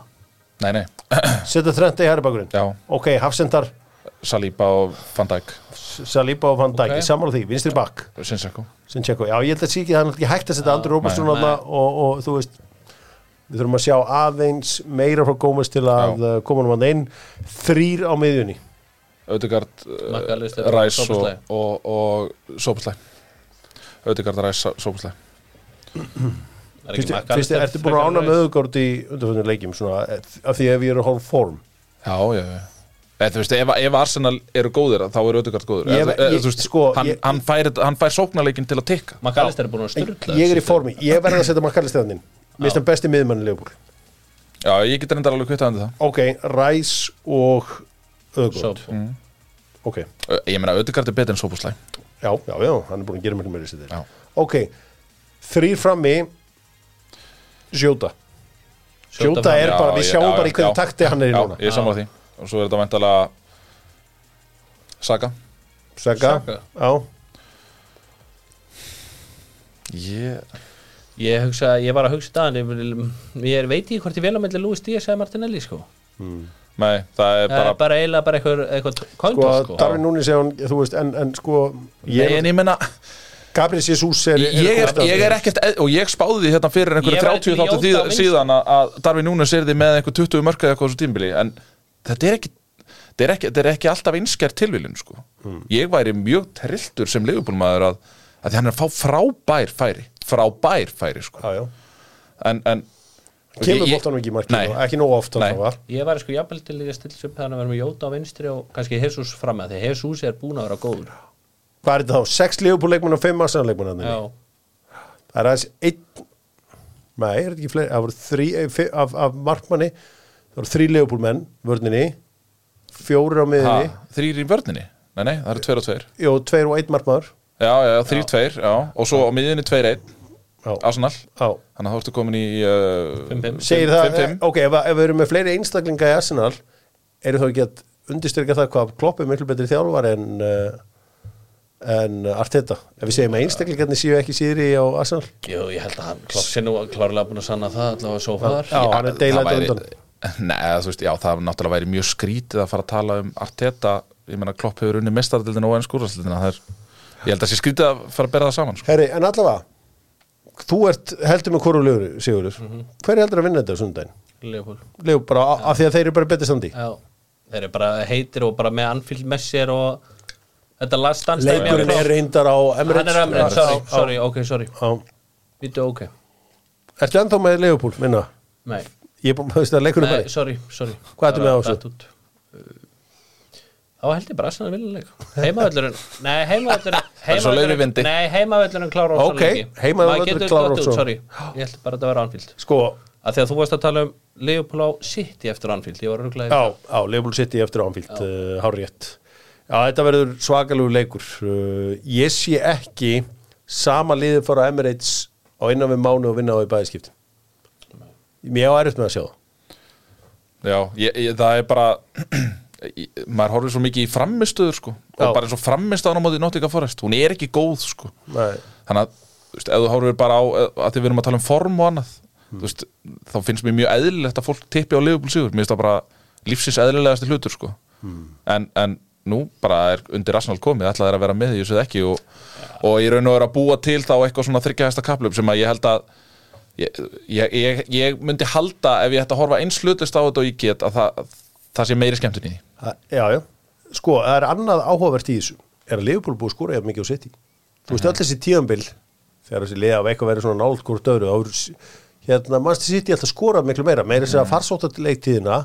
Nei, nei,
setja Trent í hæri bakurinn
Já.
ok, Hafsendar,
Saliba og Van Dijk
Saliba og Van Dijk
Ok.
okay. sammála því, vinstri bak
Sinsako
sem tjekku, já ég held að sé ekki það er náttúrulega ekki hægt að setja Andri Róbersson
nei.
og, og, og þú veist við þurfum að sjá aðeins meira frá Gómez til að
Já.
uh, koma hann inn þrýr á miðjunni
Ödegard,
Makkalister,
Ræs og,
Szoboszlai.
uh, og, og Sopuslæ Ödegard, Ræs, Sopuslæ
Það er ekki
Fyrst,
Makalist
fyrst, ertu búin að ána með auðgórd í undanfjörnum leikjum svona, eh, af því ef ég eru hálf form
Já, já, já Eða, þú veist, ef, ef Arsenal eru góðir þá eru Ödegard góður
Ég-
eða, eða,
ég-
þú veist,
sko,
hann,
ég-
hann, fær, hann fær sóknarleikin til að tikka
Makalist er búin að
En
styrla
ég er í formi, ég verð að setja makkallist eðaninn mér finnst hann besti miðmann í leikjum
Já, ég get reyndar alveg kvittað undir það
ok, Ræs og auðgórd
Sóp
ok,
Ö, Ég meina, Ödegard er betur en Sopuslæ
já, já, já, hann er búin að gera mér mér þessi
Já.
þeir ok, þrýr frammi Sjóta Sjóta er
Já,
bara, við
ég-
sjáum
já,
bara í
já,
hverju
já.
takti hann er í
Já,
núna
ég er sammála því Og svo er þetta væntalega Saga
Saka,
Saka.
já
Ég
Ég, hugsa, ég var að hugsa það ég, vil- ég veit ekki hvort ég vel á melli Lúi Stíðas eða Martinelli sko.
Nei, það
bara,
er bara
bara eiginlega bara eitthvað, eitthvað
sko,
kontra sko.
Darvin Núni segja hann, þú veist, en, en sko
Nei, en
ég,
ég meina
Gabriel Jesus er,
Ég ég er, ég er ekkert, og ég spáði því hérna fyrir einhverju
Ég var til
30 þáttu
Jóta
því,
á vinstri.
síðan að- að Darfi Núnes er því með einhver 20 mörka eða eitthvað svo tímbili en þetta er ekki, þetta er ekki, þetta er ekki alltaf einskjær tilvílin sko.
Hmm.
ég væri mjög trilltur sem leifubólmaður að, að því hann er að fá frábær færi frábær færi sko.
já, já.
en, en
kemur
ég- ég-
bóttanum ekki í markið
Nei.
og ekki nóg oft
Nei.
allavega.
Ég var sko jafnvel til í að stilla sig upp þannig að vera með Jóta á vinstri og kannski Jesus fram með því að Jesus er búin að vera góður
hvað er þetta þá, 6 Liverpool leikmenn og 5 Arsenal leikmenn
Já,
það er aðeins einn Nei, er þetta ekki fleiri? Það voru þrý, eh, fi- af, af markmanni, það voru þrý legupúlmenn, vörninni, fjórir á
Ha,
miðinni,
Þrýr í vörninni? Nei, nei, það eru tveir og tveir
jú, tveir og einn markmaður.
Já, já, þrýr, tveir, já Og svo á miðinni tveir, einn,
Já,
Arsenal
já.
Þannig að þú ertu komin í uh,
Fimm, fimm.
Segir það,
fimm, fimm.
ok, ef, ef við erum með fleiri einstaklinga í Arsenal, eru þá ekki að undirstyrka það hvað Klopp er miklu betri þjálfar en, uh, en Arteta? Ef við segjum að einstaklingarnir séu ekki síðri á Arsenal?
Jú, ég held að hann Klopp sé nú klárlega búin að sanna það allavega svo far
Já, hann er
það
deilandi
væri-
undan.
Nei, eða, þú veist, já, það náttúrulega væri mjög skrítið að fara að tala um Arteta Ég meina, Klopp hefur unni mestaradildina og enn skúrastildina Það er, ég held að sé skrítið að fara að bera það saman sko.
Herri, en allavega, þú ert heldur með korulegur, Sigurður. Hver er heldur að vinna þetta á sundaginn?
Leopold
Leif bara, ja. af því að þeir eru bara betri standi.
Já, þeir eru bara heitir og bara með Anfield Messier og þetta last dance dæmi
Leikurinn
á
er
Klopp.
reyndar á Emirates.
Hann er Emirates,
Já,
sorry,
já,
sorry, ok, sorry
já.
Vítu ok,
Ertu ennþá með Leifupúl, minna?
nei,
Ég er búin að veist að leikurinn
nei,
bara.
sorry, sorry
Hvað ertu með á þessu?
Datt út. Þá held ég bara að sanna viljanleik Heimavöllurinn, nei, heimavöllurinn
er svo leiður í vindi.
Nei, heimavöllurinn klára
Ok, heimavöllurinn klárar
klára
ofsalega
Sorry, ég held bara að þetta vera Anfield
Sko,
að Þegar þú varst að tala um Leopold á City eftir Anfield, ég var ruglaði
Já, á, Liverpool City eftir ámfíld uh, hárétt. Já, þetta verður svakalugur leikur. Uh, ég sé ekki sama liðið fara á Emirates á innan við mánu og vinna á í bæðiskipt. Mér á erut með að sjá það.
Já, ég, ég, það er bara ég- maður horfir svo mikið í framistuður sko.
Já.
og bara eins og framistaðan á móti Nottingham Forest, hún er ekki góð sko.
Nei.
þannig að þú veist, ef þú horfir bara á eh, að því við erum að tala um form og annað þú veist, þá finnst mér mjög eðlilegt að fólk tippi á Liverpool sigur, mér finnst það bara lífsins eðlilegasti hlutur sko. en, en nú bara er undir Arsenal komið, ætla þeir að vera með því, ég sé það ekki og, og ég raun og er að búa til þá eitthvað svona þryggjaðasta kaplum sem að ég held að ég, ég, ég, ég myndi halda ef ég ætti að horfa eins hlutist á þetta og ég get að það, það sé meiri skemmtun í því
Það- Já, já. Sko, það er annað áhugavert í þessu. Er að Liverpool búið að skora eða mikið á City? Þú veist, öll þessi tíðanbill, þegar þessi liða af eitthvað verið svona nált hvort öðru, þá eru, s- hérna, Manchester City alltaf skorað miklu meira. Meira sér að farsóttalegtíðina,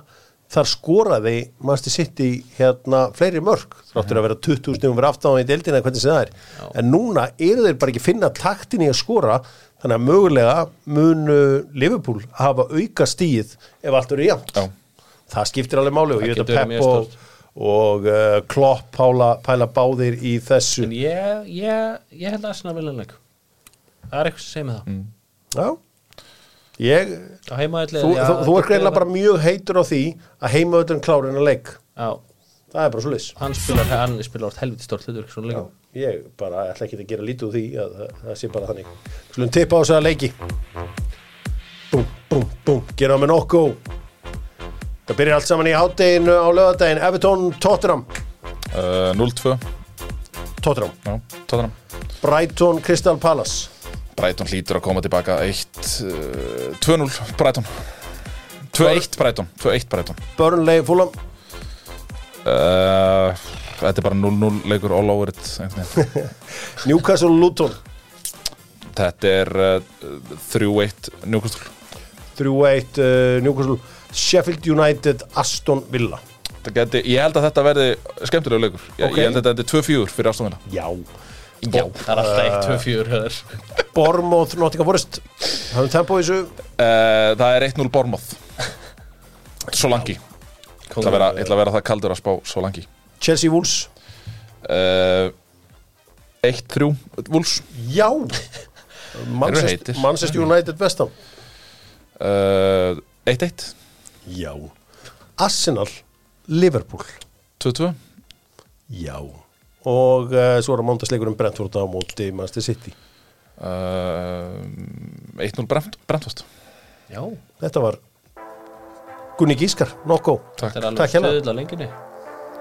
þar skoraði Manchester City hérna fleiri mörg, þráttur að vera 20 stífum fyrir aftáðan í deildina, hvernig sem það er. En núna eru þeir bara ekki að finna taktin í að skora, þannig að mögulega munu Liverpool hafa auka stíð ef allt eru jafnt
Já.
það skiptir alveg máli og
Það
ég veit
getur
að
verið
Pep
mjög
og, og uh, Klopp pála, pæla báðir í þessu
En ég, ég, ég held að Arsenal vilja leik Það er eitthvað sem segir mig
Mm.
það
Já ég,
Á heimavelli
Þú,
já,
þú, þú
þetta
ert greinilega
er-
bara mjög heitur á því að heimaðurinn klárin að leik
Já,
það er bara svo liss
hann spilar, hann spilar orð helviti stórt hlutur Svona leikum
ég bara ætla ekki að gera lítið úr því að það, það sé bara þannig Skulum tippa á þess að leiki Búm, búm, búm, gera með nokku Það byrjar allt saman í hátteginu á lögadaginn Evertón Tottenham
uh, 0-2,
Tottenham,
já, tóðanum
Brighton Crystal Palace
Brighton hlýtur að koma tilbaka 1, uh, 2-0 Brighton 2-1 Brighton 2-1 Brighton
Burnley Fulham
uh, Þetta er bara 0-0 leikur all over it einhvern veginn.
Newcastle Luton
Þetta er uh, 3-1 Newcastle
3-1 uh, Newcastle Sheffield United Aston Villa
Þetta gæti, Ég held að þetta verði skemmtilegu leikur Ég,
Ok.
ég held að þetta er 2-4 fyrir afstofnina
Já
Já, það er alltaf 1, 2, 4 höður
Bormóð Nottingham Forest Hafum tempo í þessu
uh, Það er 1-0 Bormoth Solangi Ég ætla að vera- ég ætla að vera það kaldur að spá Solangi
Chelsea Wolves
uh, 1-3 Wolves
Já
heitir.
Manchester, Manchester
Mm.
United Vestam
uh, 1-1
Já Arsenal Liverpool
2-2
Já Og uh, svo er að mándagsleikurinn Brentford á móti Manchester City
Uh, 1-0 Brent, Brentvast
Já,
Þetta var Gunni Gískar, nokkó
þetta er
Takk,
alveg
takk hérna.
stöðla lengjunni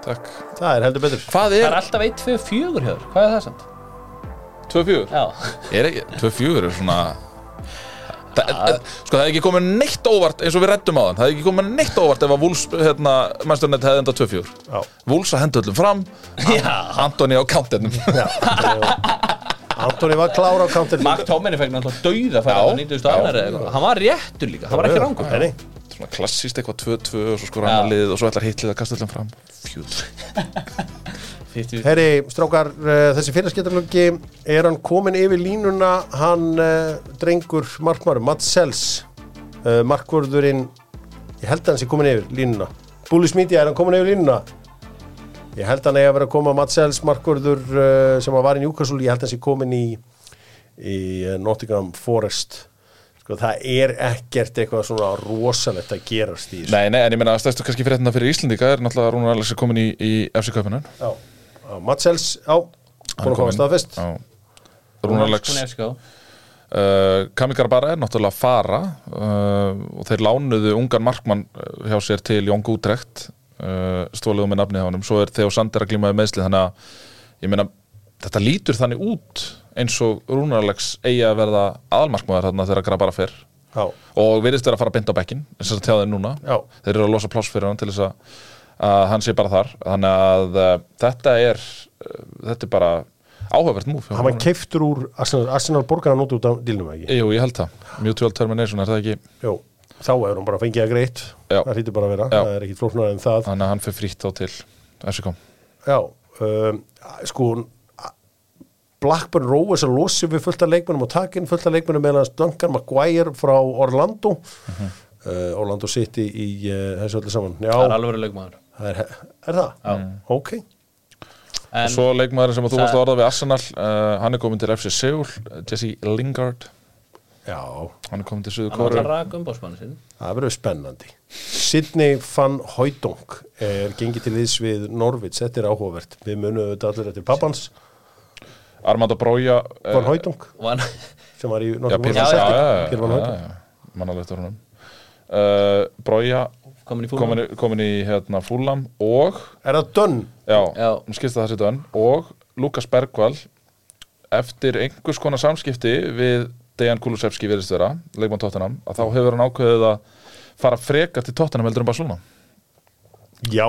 takk
Það er heldur betur
Hvað
Það
er
er alltaf 1, 2, 4 höður Hvað er það samt?
2-4?
Já,
Er ekki, 2-4 er svona Þa, eh, Sko það er ekki komið neitt óvart eins og við reddum á þann Það er ekki komið neitt óvart ef að Wolves hérna, Mennsturnett hefði enda 2-4
Já
Wolves að henda öllum fram
já
Antoni á countinnum
Antoni var klára á counter
Mark Tóminni fegna alltaf dauða færa
Já,
það 90. annari eða eitthvað. Hann var réttur líka, hann var ekki rangur
Nei, nei.
Svona klassist eitthvað 2-2 og svo skora annar lið og svo ætlar hitlið að kasta öllum fram Fjúr 50
Herri, strákar, uh, þessi félagskiptalöggi, er hann komin yfir línuna, hann uh, drengur markmarum, Mats Sels, uh, markvörðurinn, ég held að hann sé komin yfir línuna. Búlis Mídia, er hann komin yfir línuna? Ég held að hann eigi að vera að koma Mats Sels, markvörður uh, sem að var í Newcastle, ég held að hann sé komin í, í eh, Nottingham Forest. Sko, það er ekkert eitthvað svona rosalegt að gerast í þessu.
Nei, nei, en ég meina að stærstu kannski fyrir þetta fyrir Íslendinga er náttúrulega að Rúnar Alex er komin í, í FC Kaupinan
Já, já Mats Sels, já, búin að koma staðfest.
Rúnar Alex
Hún er sko
uh, Kamikar bara er náttúrulega að fara uh, og þeir lánuðu ungan markmann uh, hjá sér til Jón Gútrekt uh, stóliðu með nafnið á honum svo er þegar Sander að glímaði meðsli þannig að ég meina, þetta lítur þannig út eins og Rúnar Alex eigi að verða aðalmarkmaður þarna þegar Grabara fer
Já.
og virðist vera að fara að binda á bekkin eins og það tjáði núna
Já.
þeir eru að losa pláss fyrir hann til þess að, að hann sé bara þar þannig að uh, þetta er uh, þetta er bara áhugavert múf
hann var keiftur úr Arsenal, Arsenal borgar hann út út af dýlnum ekki
Jú, ég held það. Mutual termination, er það ekki?
Jó, þá er hann bara fengið að greitt
Já.
það hlýtur bara að vera,
Já.
það er ekkit flóknar en það
Þannig að hann fyrir frítt þá til FCK.
já, um, sko Blackburn Rovers að losi við fullta leikmennum og takin fullta leikmennum meðan hans Duncan Maguire frá Orlando uh, Orlando City í uh, þessu öllu saman já,
Það er alveg lögmaður
það er, er það? Já. ok,
Og
En
svo leikmaður sem að þú
Það-
varst að orða við Arsenal, uh, hann er komin til FC Seoul, uh, Jesse Lingard,
já,
hann er komin til Suðu
hann var
Kóru.
að raka umbásmannu sinn
það verður spennandi Sidney van Hoydong er gengið til liðs við Norvits þetta er áhugavert, við munum þetta allir eftir pappans
Armando Brója.
Van Hautung
Og hann
sem var í
Já,
Norðurmóla
Pyrr Van
já, já,
Sætti Pyrr Van
Hautung.
Hautung
Mannalegt var honum. Uh, Brója
komin í fúlum
komin, í- komin í hérna Fúlam og,
Er það dönn?
já,
Já.
hún skilst það þessi dönn, og Lukas Bergvall eftir einhvers konar samskipti við Dejan Kulusevski virðist vera, leikmann Tottenham, að þá hefur hann ákveðið að fara frekar til Tottenham heldur en Barcelona.
Já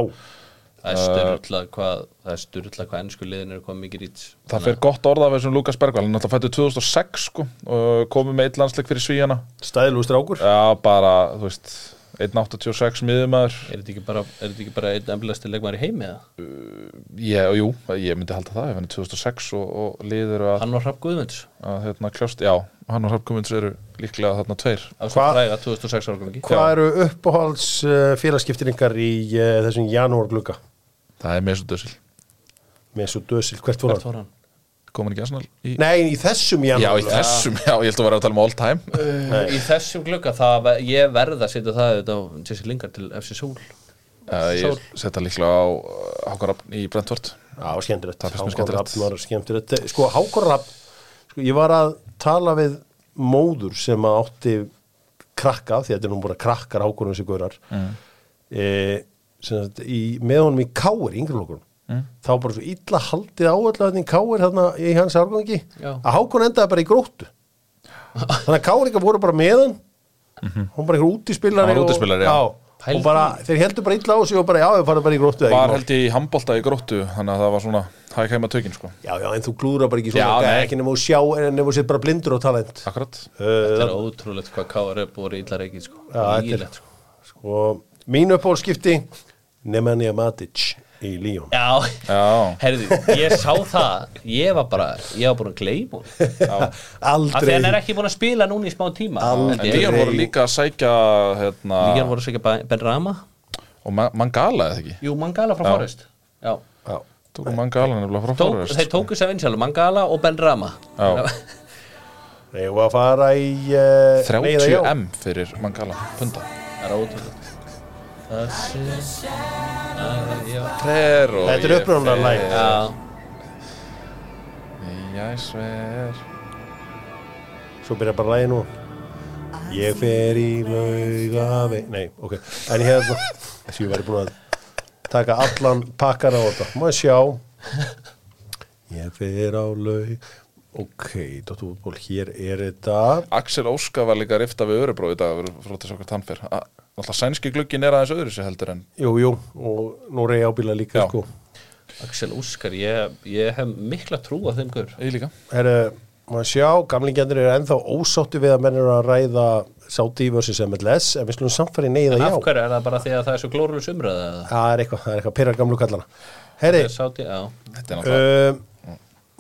Það
Uh,
er styrla hvað Það er styrla hvað ennsku liðin eru komið mikið rít
Það fyrir gott orða af þessum Lukas Bergvall hann alltaf fættu 2006 sko og komið með eitt landsleik fyrir Svíjana
Stæðilú strákur
Já, bara, þú veist 1.86 miðumæður
Er þetta ekki bara, er þetta ekki bara einn emblesti leikmaður í heimi eða?
Ég, jú, ég myndi halda það ef hann er 2006 og, og liður að,
Hann var Hrapp Guðmunds
að hérna, kljóst Já, hann og Hrafkumins eru líklega þarna tveir
af
Hva-
svona fræga 2006 árgangi
Hvað eru uppáhalds uh, félagskiptiringar í uh, þessum janúar glugga?
Það er með svo dösil
Með svo dösil, hvert voru
Hvert
hann?
var hann?
Komin ekki aðsnal í...
Nei, í þessum
Já,
janúar
í þessum, já, ég held að vera að tala um all time
Eh,
Í þessum glugga, það, ve- ég verð að setja það auðvitað á Jesse Lingard til FC Soul
uh, Ég setja líklega á Hákarafn í Brentford
Já, skemmtilegt
Það finnst mér
Hákon
skemmtilegt.
Rapp var skemmtilegt Eh, Sko, Hákon Rapp sko, Ég var að tala við móður sem að átti krakka því að þetta er nú bara krakkar Hákonum þessi gaurar mm. e, sagt, í, með honum í Káir yngri lókunum mm. þá bara svo illa haldið áallu hann í Káir þarna í hans árgangi
Já.
að Hákon endaði bara í gróttu þannig að Káringa voru bara með hann hún bara einhver útispillari
Mhm. Hann var útispillari, já.
og, já.
Pældi.
og bara, þeir heldur bara illa á sig og bara já, við farum bara í gróttu það er ekki
Var
mál.
held ég í handbolta í gróttu Þannig að það var svona, hæg heima tökin sko
Já, já, en þú glúra bara ekki svona
Já,
já,
nei.
ekki nema þú sjá, en nema þú sér bara blindur á talent
Akkurat
Eh.
Þetta er ótrúlegt hvað K.R. er búið í illa reikið sko.
Já, þetta er-
Nýgilegt, sko.
og mín uppáhaldskipti Nemanja Matic í Líón
Já,
Já
herðu, ég sá það Ég var bara, ég var búin að gleyma hún Af því
Aldrei
hann er ekki búin að spila núna í smá tíma
Aldrei.
En Líjar voru líka að sækja hérna,
Lígan voru sækja Ben Rama
og Ma- Mangala eða ekki
Jú, Mangala frá
Já.
Forest Já
Já,
Tóku Mangala nefnilega frá
Tók,
Forest
þeir tóku sér vinsjálf, Mangala og Ben Rama
Já.
ég var að fara í uh,
30M fyrir Mangala punda
Það er ótrúlegt Það sé Æ, já.
Trer og
Þetta er
ég
upprunalega
fer-
lagið.
Já,
Ég sver
Svo byrja bara lægi nú Ég fer í laugavi Nei, ok, en hérna Þessi ég væri búin að taka allan pakkar á þetta Má ég sjá Ég fer á laug Ok, Dóttu útból, hér er þetta
Axel Óska var líka að rifta við Örubrói í dag við erum frá þess okkur tannfer Alltaf sænski glugginn er aðeins öðru sér heldur en
Jú, jú, og nú reyja ábíla líka
Já.
sko.
Axel Óskar, ég, ég hef mikla trú á þeim gaur
ég líka
Herru, maður sjá, gamlingjarnir eru ennþá ósáttu við að menn eru að ræða Saudi versus MLS, en við slumum samfæri neyða
Af
já.
hverju er það bara því að það er svo glórulis umræða eða?
Það er eitthvað, það er eitthvað, pyrrar gamlu kallana. Herri,
Sáti, já
Þetta er náttúrulega
uh,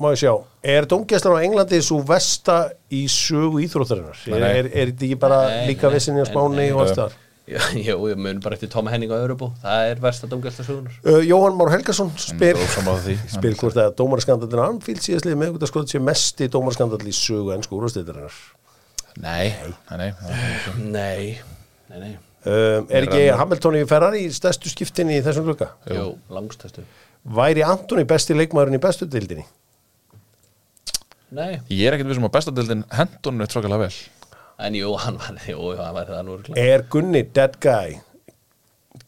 má ég sjá, er dómgæslan á Englandi svo vesta í sögu íþróttarinnar?
Nei,
Er,
nei.
er, er þetta ekki bara
Nei,
líka
nei,
vissinni á
nei,
Spáni
nei.
og allt þar?
Já, já, ég mun bara eftir Tom Henning á Örebú Það er versta dómgjastarsögunar
Uh, Jóhann Már Helgason spyr
ósammála því.
spyr hvort að dómaraskandallin Anfield síðastlið með hvort að skoða sé mest í dómaraskandall í sögu ennsku úrvasteytarinnar
Nei, nei, nei það er ekki.
Nei, nei, nei
um, Er ekki Hamilton í Ferrari stærstu skiptin í þessum glugga?
Jú, langstæstu
Væri Antoni besti leikmaðurinn í bestu dildinni?
Nei,
Ég er ekkert við sem að bestadeldin hendunum er trókilega vel
en jú, hann var, jú, hann var það nú örugglega.
Er Gunni Dead Guy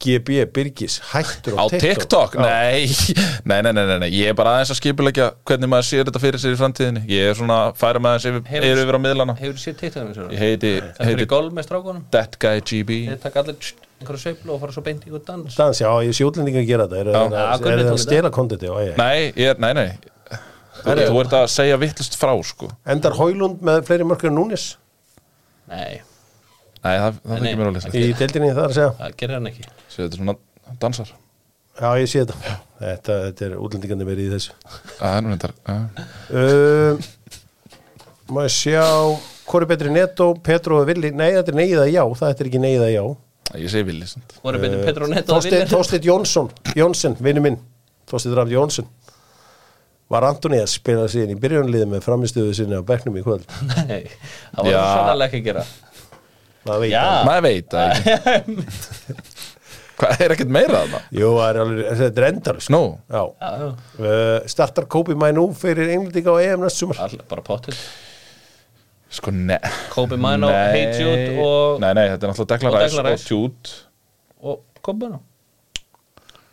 GB Birgis hættur á
Á TikTok? Nei. Nei, nei, nei, nei, nei, ég er bara aðeins að skipulegja hvernig maður sér þetta fyrir sér í framtíðinni Ég er svona að færa maður aðeins yfir,
Hefur-
yfir á miðlana
Hefur séð teittöðum eins og
Ég heiti,
Það fyrir
heiti
golf með strákunum
That Guy GB
Þeir taka allir tst, einhverju sveiflu og fara svo beint í ykkur dans
Dans, já, ég sé útlendinga að gera þetta Er, er,
Já,
er,
Gunni
er það
tók
að
þetta.
stela kontenti? Já, já, já.
Nei, ég er, nei, nei Þú,
Herri,
þú ert að segja vittlust frá, sko
Endar Hólund með fleiri mörkur en Núnis
Nei,
Nei, það, það
Nei,
þykir mér alveg
nei.
slett
í dildinni þar að segja
það gerir hann ekki
Sér þetta er svona, hann dansar
Já, ég sé þetta Þetta, þetta er útlendingandi verið í þessu
Það er nú reyndar já.
Uh, Má ég sjá Hvor er betri netto, Petro og Villi Nei, þetta er neyða já, það er ekki neyða já
Ég segi villi, sant
Voru betur Petru og Netto að
Þorsteinn
vinna
Þorsteinn Jónsson, Jónsson, vinnu minn Þorsteinn Rafn Jónsson Var Antoni að spila síðan í byrjunliði með framistöðu sinni á bekknum í kvöld
Nei, það var
Já.
sannlega ekki að gera
Það veit
Já.
hann.
Maður veit það ekki Hvað er ekkert meira þarna?
Jú, það er alveg, þetta er endar
Nú,
Já
Já, já,
uh, Startar Kobi Mænú fyrir Englendinga á EM næst sumar
all- bara pottil
sko, ne
Kobe Mino,
Nei.
Hey Jude og,
Nei, nei, þetta er náttúrulega
Og
Declan Rice
Declan
og
Rice.
Jude
og Kobe Mino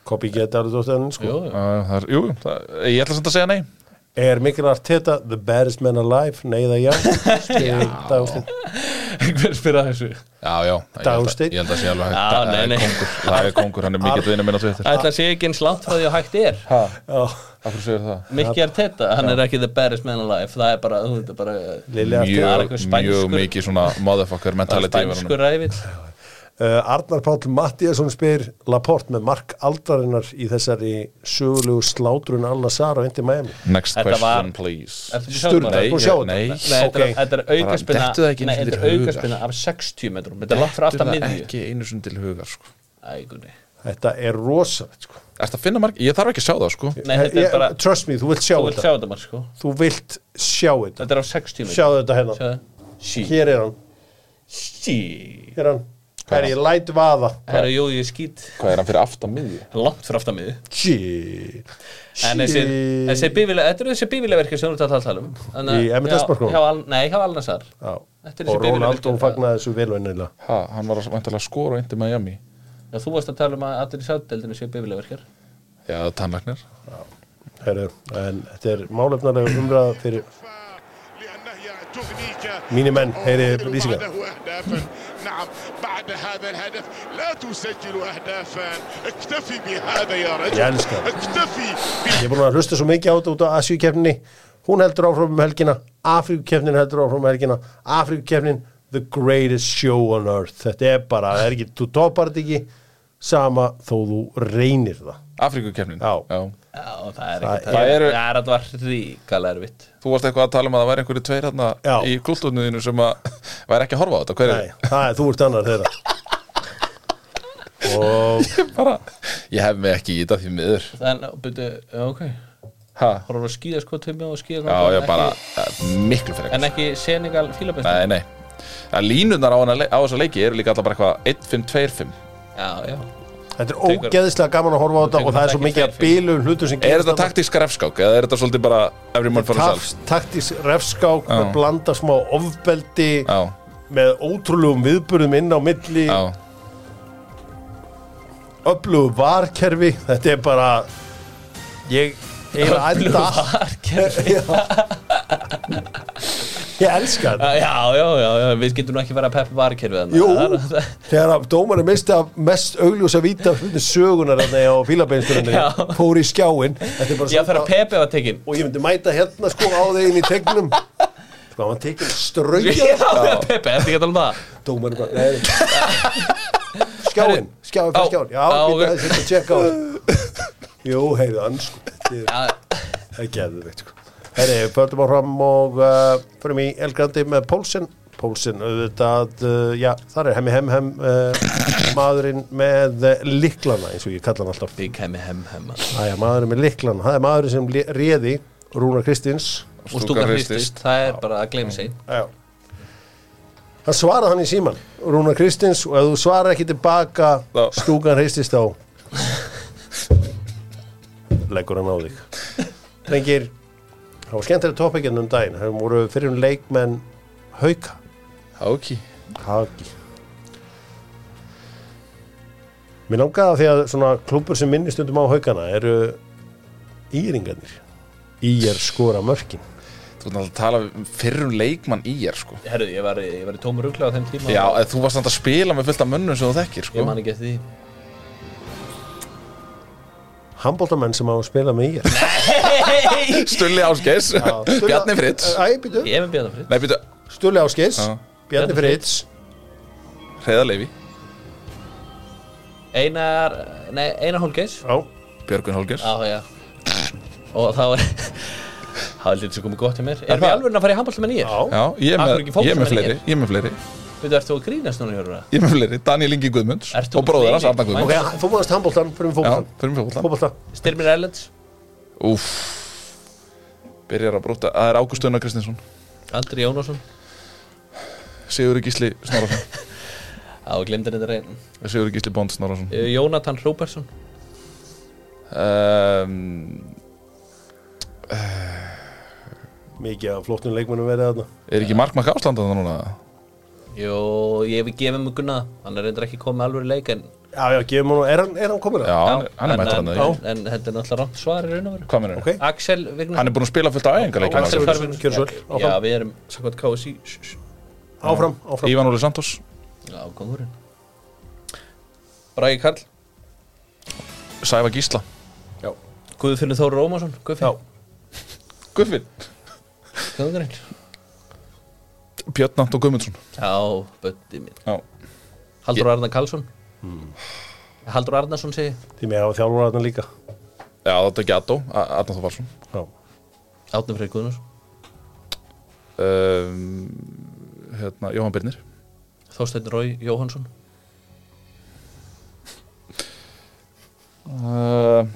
Kobi geta alveg dótt enn sko
Jú,
Já, það er, Jú, það, ég ætla samt að segja nei
Er Mikkel Arteta, the baddest man alive Neyða já Dagsteinn.
einhver spyrir að þessu
Já, já, ég held að-
Dagsteinn.
Ég held að sé alveg
Já,
það
nei,
er
nei.
Kóngur, það er kongur, hann er mikill vinur minn á Twitter
Ætla sé ekki eins langt frá því að hægt er
Hæ,
Já
af hverju segir það?
Mikki Arteta, hann er ekki the baddest man alive Það er bara, þú veit, bara
Lilli Arteta
Það er
Mjög,
eitthvað
mjög
spænskur-
mikið svona motherfucker mentality yfir honum.
Spænskur ræfitt
Uh, Arnar Páll Mattiasson spyr Laporte með mark aldarinnar í þessari sögulegu slátrun Al-Nazar á Indi Miami
Next
Þetta
question
var-
please
Ertu ekki sjáðu
Sturla,
bara?
Nei,
þú
ég-
sjáu þetta
nei.
Nei, þetta er-
Ok.
þetta er
Bara
aukaspinna
dettur það ekki einu
Nei,
sinni
þetta
til
er
hugar.
aukaspinna af 60 metrum Þetta er langt frá aftan
Þetta er
miðju
ekki einu sinni til hugar sko.
Ægunni
Þetta er rosalegt sko.
Er þetta að finna marg? Ég þarf ekki að sjá það sko.
Nei, þetta
Ég-
er bara
Trust me, þú vilt sjá
Þú vilt
þetta
sjá þetta maður sko
Þú vilt sjá þetta
Þetta er á 60 metrum
Sjáðu þetta hérna
Sjáðu
Hér er hann,
Sí
hér er hann Herri, ég læt vaða
Herra, jú, ég skýt
Hvað er hann fyrir aftan miðju?
Langt frá aftan miðju
Shit.
En þessi,
Shit.
þessi bífilega, þetta eru þessi bífilega verkið sem þú ert að tala um Þannig að-
Í Emmett
Já,
Esmarkó?
hjá Al- Nei, hjá Alnarsar
Já.
Þetta er
Og
þessi bifvél-
Ronaldo fagnaði þessu velvennilega
Ha, hann var að vantilega skora undir Miami
Já, þú varst að tala um að allir í sáttdeldinu séu bífilega verkir
Já, tannlagnir
Herri, en þetta er málefnarlega umræða fyrir
لأنه تغنيك
Mini men, heyri,
أو
lýsingar.
بعده أهدافا نعم بعد هذا الهدف لا تسجل أهدافا اكتفي بهذا يا رجل
يا أنسكا.
اكتفي ب...
Ég er búin að hlusta svo mikið á þetta út á Asíukefninni Hún heldur áfram um helgina Afríkukefnin heldur áfram um helgina Afríkukefnin, the greatest show on earth Þetta er bara, það er ekki, þú topar þetta ekki Sama þó þú reynir það
Afríkukefnin
Já.
Já, það er
Það
ekki
það eru-
Það er alltaf ríkala erfitt
Þú varst eitthvað að tala um að það væri einhverju tveir hérna
Já.
í kultúrnuðinu sem að væri ekki að horfa á þetta Hver
Nei,
er
það er, þú ert annar þeirra Og
bara Ég hef mig ekki í þetta því miður
Þannig, byrju, já, ok
ha.
Horfum að skýða sko tömja og skýða
Já, ég bara eh, miklu fyrir
En ekki Senegal fílabest
Nei, nei að línunar á, hana, á þessa leiki eru líka alltaf bara eitthvað 1, 5, 2, 5
Já, já
þetta er ógeðislega gaman að horfa á þetta
tekur
Og það er svo
þetta
mikið
ekki
að
fyrir fyrir.
bílu um hlutum sem
Er þetta taktíska refskák eða er þetta svolítið bara everyone for
Tafs,
themselves?
taktís refskák með
Já.
blanda smá ofbeldi
Já,
með ótrúlegum viðburðum inn á milli
já,
öflugu varkerfi þetta er bara ég eiginlega elda allt.
Vargerð.
Já. ég elska þetta
Já, já, já, já, við getum nú ekki verið að peppa varkerfið
Jú, þegar að dómarinn misti af mest augljósa víta fyrir sögunar þarna á
Já.
fílabeinsturinn fór í skjáin Þetta er bara
Já,
samt
þegar
að-
Pepe var tekin
og ég myndi mæta hérna sko á þegin í tegnum sko hann var tekinn
Já,
ströngja
þegar Pepe, þetta ekki að tala um það
dómarinn bara nei, nei. skjáin, skjáin fyrir
Á,
skjáin já,
á,
við
ok.
þetta að tjekka á Jú, heyrðu hann sko. Þið-
Já,
Það er geðveikt sko. Herri, við földum á fram og uh, förum í Elgrandi með Pólsin Pólsin, auðvitað, uh, já, þar er hemmi hemm hemm uh, maðurinn með uh, liklana, eins og ég kalla hann alltaf
Big Hemi Hem Hem maður.
Æja, maðurinn með liklana, það er maðurinn sem lé- réði Rúna Kristins
Og stúkan hristist, það er bara að gleyma sig
Já Það svaraði hann í síman, Rúna Kristins og ef þú svarar ekki tilbaka
Já.
stúkan reistist á leggur hann á þig Drengir það var skemmtilega toppikinn um daginn það voru fyrir um leikmenn hauka
Ok
haki Mér langaði að því að svona klúpur sem minni stundum á haukana eru íringarnir Íjar skora mörkin
Þú ert náttúrulega að tala um fyrrum leikmann í er sko
Herru, ég var, í- ég var í tómur rugla á þeim tíma
Já, eða þú varst samt að spila með fullt af mönnum sem þú þekkir sko
Ég man ekki eftir því
handbóltamenn sem á að spila með íjar
Stulli Ásgeis, Bjarni Fritz
Æ, býtu
Ég er með Bjarnar Frið
Nei, býtu,
Stulli Áskis,
Já.
Bjarni
Bjarni
Fritz
Hreiðar Leifi
Einar, nei, Einar Holgeis
Já,
Björgun Holgers
Já, já Og þá er Það er lítið sem komið gott hjá mér Erum við
það-
alveg að fara í handbólta með nýjar?
já,
Já, ég
Af
er með,
hverju ekki fótboltamenn
ég er með
í
fleiri,
ER?
ég er með fleiri
Veitu, ert þú að grínast núna, Jörgur?
Ég er með fleiri, Daniel Ingi Guðmunds
Ert þú
og bróður hans,
fleiri?
Arna
Ok,
Guðmunds
þú maðurst handbóltan, fyrir við
Já,
fótboltan
fyrir mig fólkla
Fótbolta,
Styrmir Erlends?
Úff Byrjar að brota, það er Ágúst Unnar Kristinsson
Andri Jónásson?
Sigur Gísli Snorarsson
Já, ég glemdi þetta reyn
Sigur Gísli Bond Snorarsson
Eh, Jónatan Róbersson?
um,
mikið af flottum leikmennum verið þarna
Er ekki markmakk áslanda það núna?
Jó, ég hef gefið mig Gunna Hann er reyndar ekki komið með alveg leik en
Já, já, gefum hann, er hann, er hann komin
Já,
að?
hann, er- hann
en-
er mættur hann
en,
eða ekki?
en, en þetta er náttúrulega rámt svar í raun og veru
Hvað mennur?
Ok.
Axel Vignar
Hann er búinn að spila fullt af æfingarleikina
Axel
Axel
Fervin
Gjörðu svo vel, áfram.
Já, við erum Sankvæmt KSI Sh, sh.
Áfram, áfram
Ívan Óli Santos
Já, góðurinn Bragi Karl
Sæfa Gísla
Já,
Guðfinnur Þóru Rómason Guðfinn
Guðfinn
Góðurinn
Björn Anton Guðmundsson
Já, bötti minn
Já
Haldur Arnar Karlsson Haldur Arnarsson segi ég.
því mig hafa þjálfur þarna líka
Já, þetta er ekki Adó, Adó Þófarsson
Já,
Átni Freyr Guðnars
um, Hérna, Jóhann Birnir
Þorsteinn Rói Jóhansson
uh,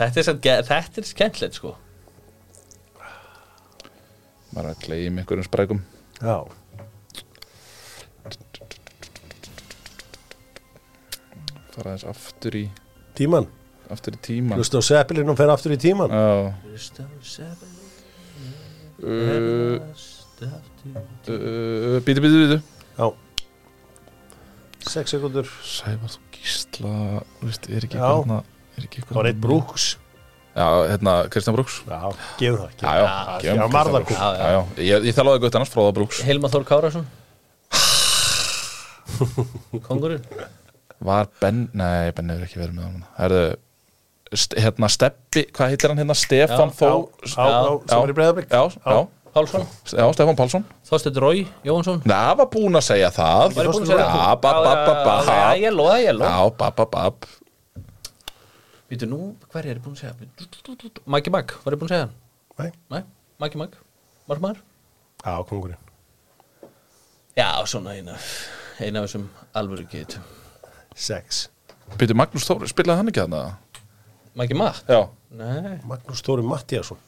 Þetta er, samt ge- þetta er skemmtilegt sko
Maður er að gleyma einhverjum sprækum
já,
Fara aðeins aftur í
tíman
Aftur í tíman
Hlusta á Seppelin og fer aftur í tíman
Já Uh,
Þetta
uh, Bítu, bítu, bítu
Já Sex sekundur
Sævar þú Gísla Þú veist, er ekki
Já.
eitthvað hérna- er ekki
Það var eitt brúks
Já, hérna, Kristján Brúks
Já, gefum það,
Já,
gefum
Já,
já, gefum
já,
Kristján
Marðar
Brooks.
Kúk.
Já, já, ég, ég þjálfaði gutt annars Fróða Brúks
Helma Þór Kárasson Kongurinn
Var Ben, nei, Ben hefur ekki verið með hann Herðu, st hérna Steppi, hvað heitir hann hérna? Stefan
Já,
Þó
já, já, sem var í Breiðablik.
Já, já,
Pálsson
já, Stefan Pálsson
Þorsteinn Rói Jóhansson
Nei, hann var búinn að segja það
Var ég búinn að segja það?
Já, bap, bap, bap, bap
Já, ég loða, ég loða
Já, bap, bap, bap
Vítu, nú, hver er ég búin að segja? Bíddu, dú, dú, dú, dú. Maggi Mag, var ég búin að segja hann?
Nei.
Nei, Maggi Mag, margmar
Já, kongurinn
Já, svona eina Eina af þessum alvöru getum
Sex
Býtu, Magnús Þóri, spilaði hann ekki þarna?
Maggi Mag?
Já
Nei
Magnús Þóri Mattíasson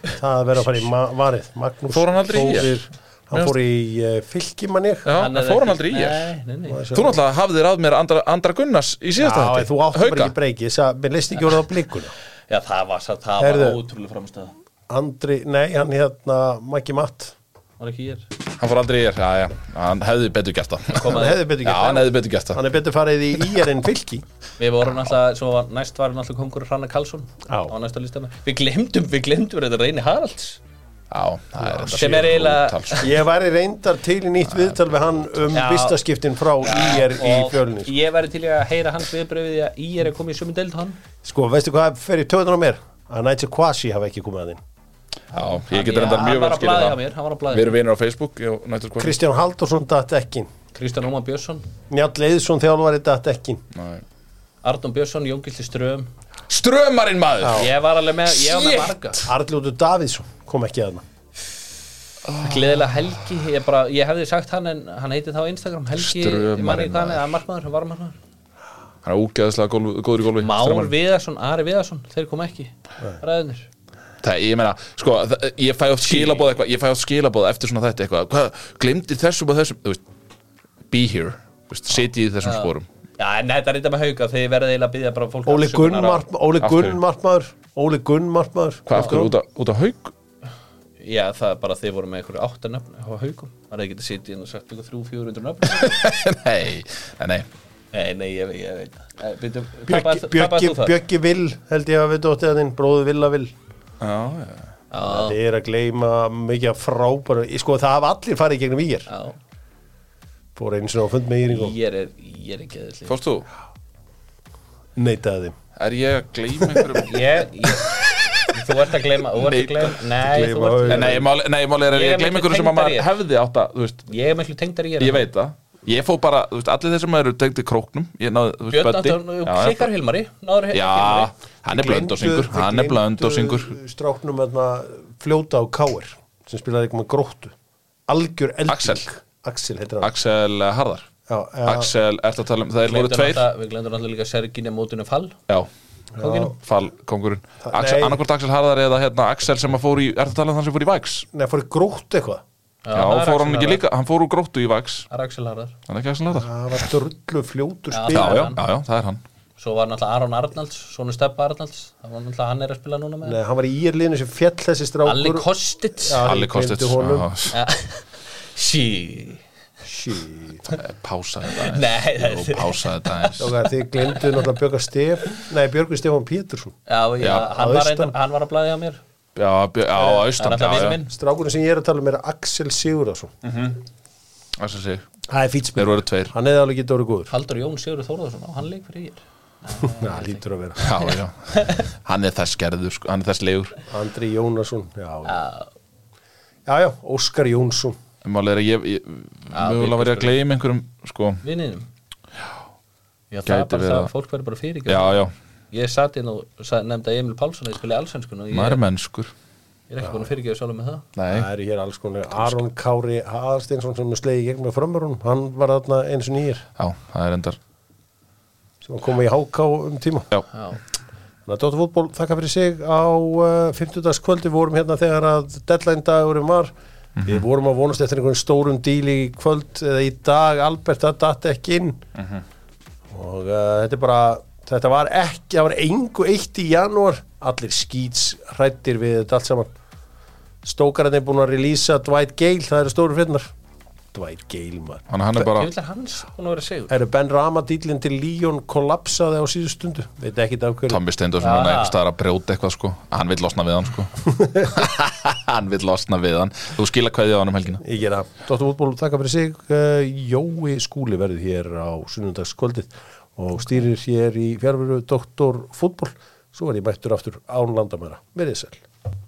Það að vera að fara í ma varið Magnús
Fór hann aldrei í ÍR?
Þórir- Hann fór í uh, fylki manni
Já, hann
er
fór hann
ekki-
aldrei í
Nei,
ég
nei, nei
Þú náttúrulega hafðir að mér Andra, andra Gunnars í síðasta
Já, en þú áttu bara
Hauka.
ekki breyki Ég sagði, mér leist ekki orðið á blikuna
Já, það var, satt- það var
Heyrðu.
ótrúlega framstæða
Andri, nei, hann hérna Maggi Matt
Var ekki ég
Hann fór aldrei í ég, já, já Hann hefði betur gert það
Hann hefði betur
Já,
gert
hann hefði betur gert það
Hann er betur farið í IR en fylki
Við vorum alltaf, svo var, næst var alltaf kongur Hrannar Karlsson
Já.
á næsta listana Við glemdum, við glemdum þetta reyni Haralds
Já, það er enda
sem er eiginlega-
ótal, sko.
Ég væri reyndar til í nýtt viðtal við hann um
Já.
vistaskiptin frá IR í sko.
Og
fjölnir
Ég væri til í að heyra hans viðbröfið því að ég er að koma í sömu deild og hann
Sko, veistu hvað fer í töðunum á mér? Að Nigel Quasi hafa ekki komið að þinn
Já, ég getur enda mjög vel
vel
skilja það
skilja það
Við erum vinir á Facebook ég og Nættur Kvöld
Kristján Haldursson datt ekki
Kristján Ómar Björnsson
Njáll Eiðsson þjálfari datt ekki
Nei.
Arnón Björnsson, Jóngildi Ström
Strömarinn maður
Ég var alveg með, ég var með
Shit.
marga
Arljótu Davíðsson kom ekki hérna. aðna
Gleðilega Helgi, ég, bara, ég hefði sagt hann en hann heiti þá á Instagram Helgi, ég man
Strömarinn,
ekki hvað hann
maður.
er, að markmaður, hann var markmaður
Hann er úgeðslega gólf, góður í gólfi
Már
Strömarinn.
Viðarsson, Ari Viðarsson, þeir kom ekki Ræðinir
Það, ég meina, sko, það, ég fæ oft skilabóð eitthvað Ég fæ oft skilabóð eftir svona þetta eitthvað Hvað, glemdi þessum og þessum Þú veist, be here Þú veist, Sitji í þessum sporum
Já, en þetta er eitthvað með hauga, þeir verða eiginlega að byggja bara fólk
Óli Gunn
afsökunar á-
mark- Óli
Af
Gunn
hverju?
markmaður Óli Gunn markmaður
Hvað, aftur út á, út á haug?
Já, það er bara að þeir voru með einhverju átta nöfn á haugum, það er ekki að sitja inn hérna og sagt ykkur þrjú, fjórundur nöfn
nei, nei, nei
Nei, nei, ég, ég veit það Byrju,
Bjöggi-
tapaðist- tapaðist
Bjöggi
þú það?
Bjöggi Vill held ég að við dóttið að þinn bróðu Villa Vill
Já, já
Já,
Það er að gleyma mikið af frábæru Sko það hafa allir farið í gegnum ígir
já
Fór einu sinni á fund með íring og
Ég er, ég er ekki eðlileg.
Fórst þú?
neitaði þeim
Er ég að gleyma einhverjum?
ég, ég, Þú ert að gleyma Þú ert að gleyma Nei,
Gleyma
þú ert að
augun.
gleyma
Nei, máli nei, máli er að
Ég
ég
er
gleyma
miklu
einhverjum sem að maður
tengdari.
hefði átt að, þú veist,
Ég er miklu tengdar í
ég veit það Ég fó bara, þú veist, allir þeir sem eru tengdi króknum Ég náði, þú veist,
Björn
Böddi
Anton, þú
Já,
klikkar Hilmari Náður
Já,
Hilmari
hann er blöndosingur
Gleymdu-
Hann er
gleymdu
blöndosingur
Stráknum þarna fljóta á Káir sem spilaði ekki með gróttu Algjör elding
Axel.
Axel heitir hann
Axel eh, Harðar
Já, já.
Axel, ertu að tala um, þeir
Gleymdu
voru tveir
náttúrulega- Við glemdum náttúrulega líka Serginja mótinu fall
Já,
Kókinu
fall kongurinn
Það-
Axel,
nei.
annarkvort Axel Harðar eða hérna Axel sem að fór í, ertu að tala um þann sem fór í Vax
Nei, fór í gróttu eitthvað
Já,
Já,
það er
fór hann
Axel
ekki
Harðar.
líka, hann fór úr gróttu í Vax
Það er Axel Harðar
Hann er ekki Axel Harðar
Það var drullu fljótur
Já,
spil
Já,
það er
já,
hann.
já, já, það er hann
Svo var náttúrulega Aron Arnalds Sónu Steppa Arnalds Það var náttúrulega hann er að spila núna með
Nei, hann var í írliðinu sem fjall þessi strákur
Alli Kostits
Já. Ari
Alli Kostits
gleymdi honum.
já,
Ja. Sí
Shit.
Pása þetta aðeins.
Nei, það
Jú,
er-
Pása þetta aðeins
Strákar, Þið glemdu náttúrulega Björgur Stef Nei, Björgur Stefán Pétursson
Já, já,
Já,
hann
að
var,
austan.
reyndar- hann var að blæði á mér
Já, bjö- já, á
Það er
austan
alltaf
já,
vinur
já.
minn
Strákurinn sem ég er að tala um er Axel Sigurðarsson
Það sem sig,
Það er fýtspil
þeir voru tveir
Hann hefði alveg getið orðið góður
Haldur Jón Sigur Þórðarsson á hann leik fyrir ég
Já, lítur að vera
Já, já, hann er þess gerður, sko, hann er þess legur
Andri Jónasson Já, já, já, já Óskar Jónsson
Málið er að ég, ég mögulega var ég að gleyma einhverjum, sko
vinninum Já, það er
Gæti
bara
verið
það,
að-
fólk verður bara fyrir
Já, já,
Ég satt inn og sa- nefndi að Emil Pálsson að ég spila allsvenskun og ég,
maður er mennskur
ég er ekki búin að fyrirgefa sjálf með það
Nei,
Það eru hér alls konar Aron Kári Aðarsteinsson sem er slegið í gegn með frömmurunum Hann var þarna eins og nýjir
já, það er endar
sem var komið í háká um tíma
Já,
Já,
Þannig að Dóttar fútból þakka fyrir sig á uh, 50. kvöldi vorum hérna þegar að deadline dagurum var Við vorum að vonast eftir einhvern stórum díl í kvöld eða í dag, Albert, það datt ekki inn og uh, þetta er bara þetta var ekki, það var engu eitt í janúar, allir skýts hrættir við þetta allt saman Stókarinn er búin að releasa Dwight Gale, það eru stóru fyrnar Dwight Gale, maður
hann, hann er bara
ég vil að hans hún að vera segur
Herru, Ben Rama dýlinn til Líón kollapsaði á síðustu stundu, veit ekki af hverju
Tommy Steindorsson
Já.
hann er einhvers staðar að brjóta eitthvað sko Hann vill losna við hann sko Hann vill losna við hann Þú skila kveðið á hann um helgina
Ég gera. Dóttar Útból, þakka fyrir sig. Eh, Jói Skúli verður hér á sunnundagskvöldið og stýrir hér í fjárveru Dóttar Fútból. Svo er ég mættur aftur án landamæra. Verðið sæl.